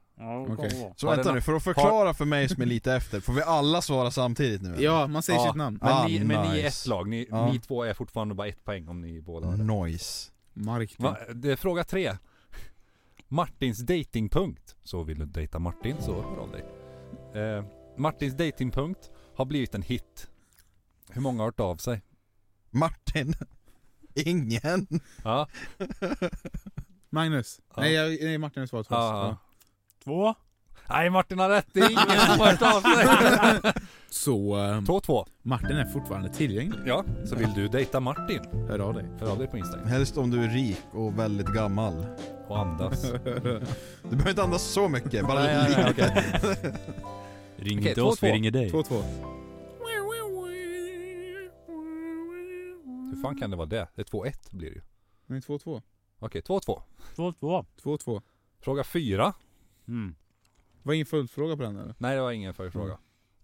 B: Okej.
C: Så
A: Har
C: vänta
A: den-
C: nu, för att förklara för mig som är lite efter, får vi alla svara samtidigt nu? eller?
B: Ja, man säger
A: Ja.
B: sitt namn.
A: Men,
C: Ah,
A: ni, men ni är ett
C: nice.
A: lag. Ni,
C: Ja.
A: ni två är fortfarande bara ett poäng om ni båda
B: Mm.
A: har det.
C: Noise.
B: Mark.
A: Va, det är fråga tre. Martins datingpunkt. Så vill du dejta Martin så hör av dig. Eh, Martins datingpunkt har blivit en hit. Hur många har hört av sig?
C: Martin. Ingen.
A: Ja,
B: Magnus.
A: Ja.
B: Nej, jag, nej, Martin har svarat först.
A: ja, ja.
B: Ja.
D: Två.
A: Nej Martin har rätt, det är ingen som har hört av sig.
B: Så, eh,
A: 2-2.
B: Martin är fortfarande tillgänglig.
A: Ja, så vill du dejta Martin?
B: Hör av dig.
A: Hör av dig på Instagram
C: Helst om du är rik och väldigt gammal.
A: och andas. Okej,
C: Du behöver inte andas så mycket, bara
A: Nej, nej,
C: lite.
A: nej,
D: Ring
A: Okej,
D: inte
A: två,
D: oss,
A: två.
D: vi ringer dig.
B: 2-2.
A: Hur fan kan det vara det? Det är 2-1 blir det ju.
B: Nej, 2-2.
A: Okej, 2-2.
D: Två, två.
B: 2-2.
A: Fråga 4.
D: Mm.
B: Var ingen följdfråga på den eller?
A: Nej, det var ingen följdfråga.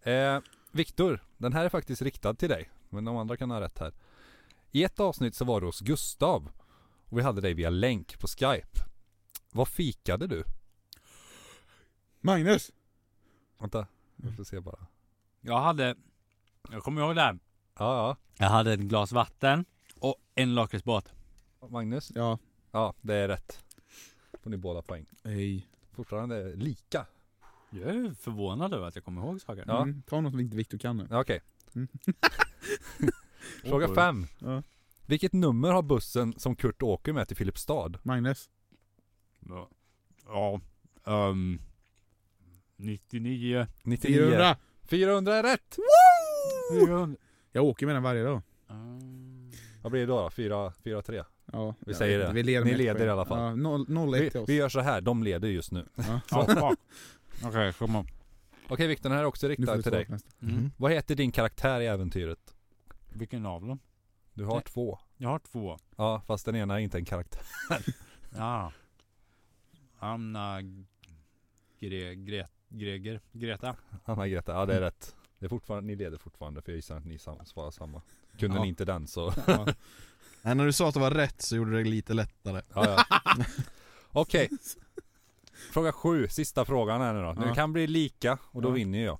B: Mm.
A: Eh, Viktor, den här är faktiskt riktad till dig. Men de andra kan ha rätt här. I ett avsnitt så var du hos Gustav. Och vi hade dig via länk på Skype. Vad fikade du?
B: Magnus!
A: Vänta, jag får se bara.
D: Jag hade... Jag kommer ihåg det här.
A: Ja,
D: Jag hade ett glas vatten och en lakritsbåt.
A: ja. Magnus?
B: Ja.
A: Ja, det är rätt. Får ni båda poäng.
B: Hej.
A: Fortfarande lika.
D: Jag är förvånad över att jag kommer ihåg saker.
A: Ja.
B: Mm, ta något som inte Viktor kan nu.
A: Ja, Okej.
B: Mm.
A: Fråga fem.
B: Ja.
A: Vilket nummer har bussen som Kurt åker med till Filipstad?
B: Magnus.
D: Ja. ja. ehm, 99.
A: 99.
B: 400.
A: 400 är rätt!
B: Jag åker med den varje dag.
D: Ehm,
A: Vad blir det då? då? 4, 4 3?
B: Ja,
A: Vi säger det.
B: Vi leder med
A: Ni
B: ett
A: leder
B: poäng.
A: i alla fall.
B: Ja, noll- 0-1 till
A: Vi,
B: oss.
A: vi gör så här, de leder just nu.
D: Ja, fuck. Okej, kom on.
A: Okej Viktor, den här är också
B: Nu får
A: riktad
B: vi
A: till
B: ta
A: dig.
B: nästa.
C: Mm.
A: Vad heter din karaktär i äventyret?
D: Vilken av dem?
A: Du har
D: Nej.
A: två.
D: Jag har två.
A: Ja, fast den ena är inte en karaktär.
D: Ja. Anna Gre, Gre, Greger, Greta.
A: Anna-Greta, ja det
B: Mm.
A: är rätt. Det är fortfarande, ni leder fortfarande för jag gissar att ni sam- svarar samma. Kunde
B: Ja.
A: ni inte den så...
B: Ja.
C: Nej, när du sa att det var rätt så gjorde du det lite lättare.
A: Ja, ja. Okej. Fråga sju, sista frågan här nu då. Nu
B: Ja.
A: kan bli lika och då
B: Ja.
A: vinner jag.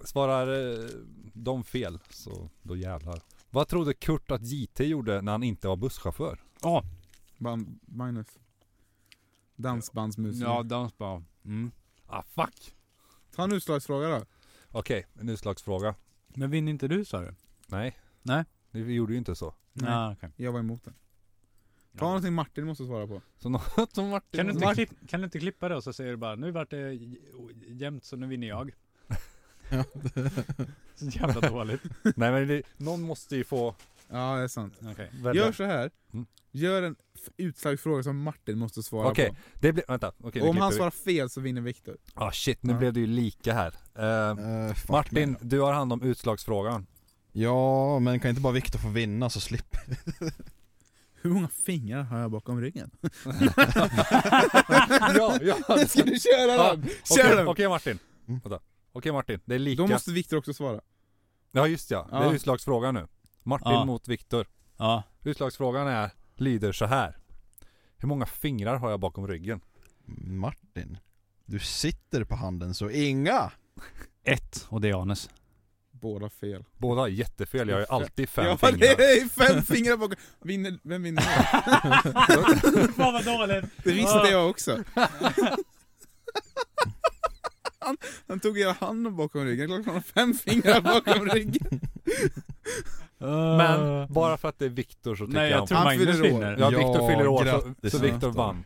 A: Svarar eh, de fel, så då jävlar. Vad trodde Kurt att JT gjorde när han inte var busschaufför?
B: Band, Magnus. Dansbandsmusiker.
D: Ja, dansband. Mm. Ah fuck.
B: Ta en utslagsfråga då.
A: Okej, en utslagsfråga.
D: Men vinner inte du sa du?
A: Nej.
D: Nej.
A: Vi gjorde ju inte så.
B: Nej.
D: Ah, okej.
B: Jag var emot den. Ta någonting Martin måste svara på.
A: Så något som Martin...
D: Kan du, inte klipp, kan du inte klippa det och så säger du bara nu vart det jämnt så nu vinner jag. så jävla dåligt.
A: Nej men det, någon måste ju få
B: Ja, det är sant.
D: Okej.
A: välja.
B: Gör så här.
A: Mm.
B: Gör en f- utslagsfråga som Martin måste svara
A: Okej,
B: på.
A: det blir... Vänta. Okej, nu
B: Om
A: klipper
B: han
A: vi.
B: svarar fel så vinner Viktor.
A: Ah shit, nu
B: Ja.
A: blev det ju lika här. Eh,
C: Eh, fuck
A: Martin,
C: mig.
A: du har hand om utslagsfrågan.
C: Ja, men kan inte bara Viktor få vinna så slipper
B: Hur många fingrar har jag bakom ryggen?
A: ja, ja.
B: Ska du köra
A: Ja,
B: den? Kör
A: Okej
B: den!
A: okej, Martin.
C: Mm.
A: Vänta. Okej Martin, det är lika.
B: Då måste Viktor också svara.
A: Ja just ja, det är
B: Ja.
A: utslagsfrågan nu. Martin
D: Ja.
A: mot Viktor.
D: Ja.
A: Utslagsfrågan är, lyder så här. Hur många fingrar har jag bakom ryggen?
C: Martin. Du sitter på handen så inga!
D: Ett och det är Anes.
B: Båda fel.
A: Båda har jättefel, jag har ju alltid fem
B: ja,
A: fingrar.
B: det är fem fingrar bakom. Vinner, vem vinner?
D: Fan vad dåligt.
B: Det visste jag också. Han, han tog hela handen bakom ryggen, klart han har fem fingrar bakom ryggen.
A: Men bara för att det är Viktor så tycker
D: Nej jag
A: jag,
D: tror
B: Han
D: Magnus
B: fyller år.
D: vinner.
A: Ja,
C: Ja,
A: Viktor fyller år så,
C: grattis,
A: så Viktor vann.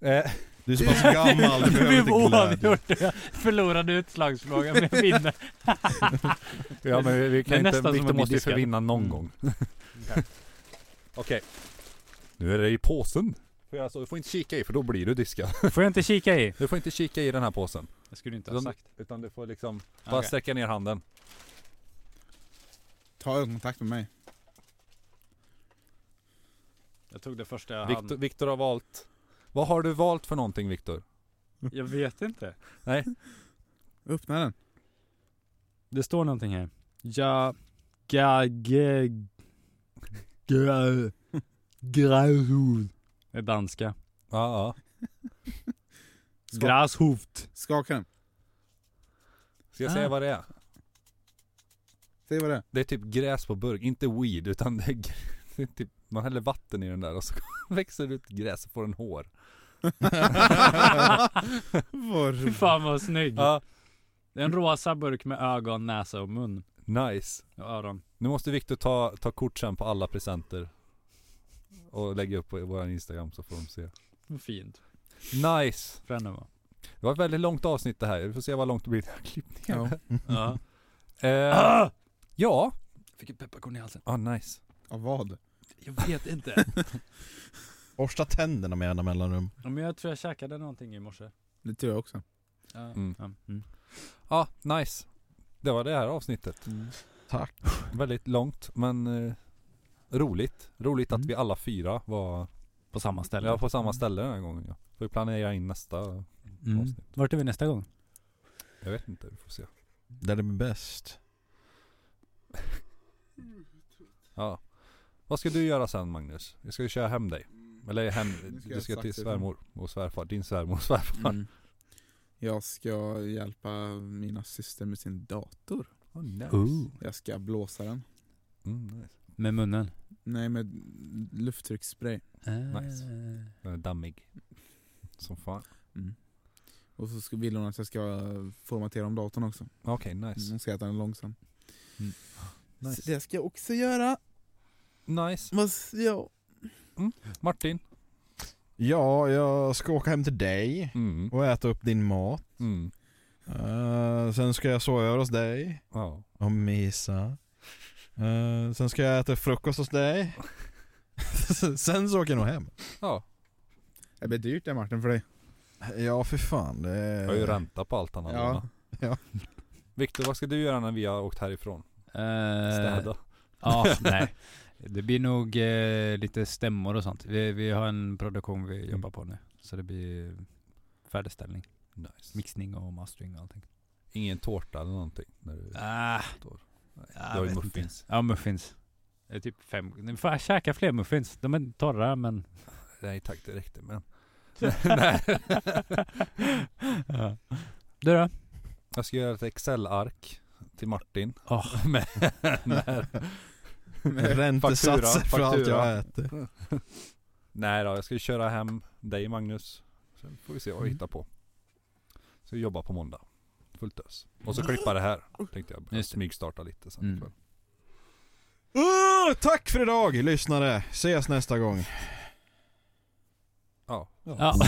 A: Eh,
C: Du är så pass gammal, du behöver inte glädje.
D: Jag förlorade utslagsfrågan men jag vinner.
A: ja men vi
D: Det är
A: kan inte,
D: nästan som
A: Viktor
D: att bli
A: måste ju
D: diskad.
A: förvinna någon
D: Mm.
A: gång. Okej. Nu är det i påsen. För alltså, du får inte kika i för då blir du diskad.
D: Får jag inte kika i?
A: Du får inte kika i den här påsen.
D: Det skulle du inte ha
A: Utan,
D: sagt.
A: utan du får liksom bara
D: Okej.
A: sträcka ner handen.
B: Ta ögonkontakt med mig.
D: Jag tog det första jag
A: Viktor,
D: hann.
A: Viktor har valt. Vad har du valt för någonting Viktor?
D: Jag vet inte.
B: Öppna den.
D: Det står någonting här. Ja... Ga... Ge... Gra... Grashov. Det är danska.
A: Ja, ja.
B: Skaka.
D: Grashovt.
B: Skaka den.
A: Ska jag säga
D: Ah.
A: vad det är?
B: Säg vad det är.
A: Det är typ gräs på burk, inte weed utan det är, gr- det är typ, man häller vatten i den där och så växer det ut gräs och får en hår.
D: Fy fan vad snygg.
A: Ja,
D: Det är en rosa burk med ögon, näsa och mun.
A: nice.
D: Och öron.
A: Nu måste Viktor ta, ta kort sen på alla presenter. Och lägga upp på vår Instagram så får de se.
D: Fint.
A: Nice!
D: För henne va?
A: Det var ett väldigt långt avsnitt det här. Vi får se vad långt det blir när jag klippt ner.
B: Ja.
D: Ja.
A: Eh,
D: Ah!
A: ja.
D: Fick ett pepparkorn i halsen.
A: Ah, nice.
B: Av vad?
D: Jag vet inte.
C: Borsta tänderna med jämna mellanrum.
D: Ja, Men jag tror jag käkade någonting i morse.
B: Det tror jag också.
D: Ja.
A: Mm.
D: Ja. Mm.
A: Ja, ah, nice. Det var det här avsnittet.
C: Tack.
A: Väldigt långt men eh, roligt. Roligt att
D: Mm.
A: vi alla fyra var
D: På samma ställe.
A: ja, på samma ställe den här gången. Ja. Får vi planera in nästa
D: Mm.
A: avsnitt.
D: Vart är vi nästa gång?
A: Jag vet inte, vi får se.
C: Där det blir bäst.
A: Ja. Vad ska du göra sen Magnus? Jag ska ju köra hem dig. Eller hem,
B: Nu ska
A: du ska
B: jag
A: till
B: sakta ifrån.
A: svärmor och svärfar. Din svärmor och svärfar.
B: Mm. Jag ska hjälpa mina syster med sin dator.
A: Oh, nice.
B: Jag ska blåsa den.
A: Mm, nice.
D: Med munnen.
B: Nej, med lufttrycksspray.
D: Ah.
A: Nice. Den är dammig. Som fan.
B: Mm. Och så ska- vill hon att jag ska formatera om datorn också.
A: Okej, nice.
B: Hon säger att den är långsam.
A: Mm.
B: Så det ska jag också göra.
D: Mm.
A: Nice.
B: Vad s- Ja.
A: Martin.
C: Ja, jag ska åka hem till dig
A: Mm.
C: och äta upp din mat.
A: Mm.
C: Eh, sen ska jag sova över hos dig
A: Ja.
C: och mysa. Eh, sen ska jag äta frukost hos dig. sen så åker jag nog hem.
A: Ja.
B: Det blir dyrt det Martin för dig.
C: Ja, för fan. Det är...
A: Jag har ju ränta på allt han har
B: Ja.
A: lånat.
C: Ja.
A: Viktor, vad ska du göra när vi har åkt härifrån?
C: Eh,
A: Städa?
D: Eh, Ja, nej. Det blir nog eh, lite stämmor och sånt. Vi, vi har en produktion
A: Mm.
D: vi jobbar på nu. Så det blir färdigställning,
A: Nice.
D: mixning och mastering och allting.
A: Ingen tårta eller någonting? När du...
D: Ah,
A: Står.
D: jag
A: du har ju
D: vet
A: muffins.
D: inte. Ja, muffins. Det är typ fem. Ni får käka fler muffins. De är torra men...
A: Nej tack, det räckte men.
D: ja. Du då?
A: Jag ska göra ett Excel-ark till Martin.
D: Ja.
A: Med, med,
C: Räntesatser
A: faktura,
C: för allt
A: faktura.
C: jag äter.
A: nej då, jag ska ju köra hem dig Magnus. Sen får vi se
C: Mm.
A: vad jag hittar på. Så jag jobbar på måndag. Fullt ös. Och så klippa det här. Tänkte jag
D: Mm. Just det.
A: smygstarta lite sen
D: Mm.
A: ikväll.
C: Ah, tack för idag lyssnare, ses nästa gång.
A: Ja.
D: Ja.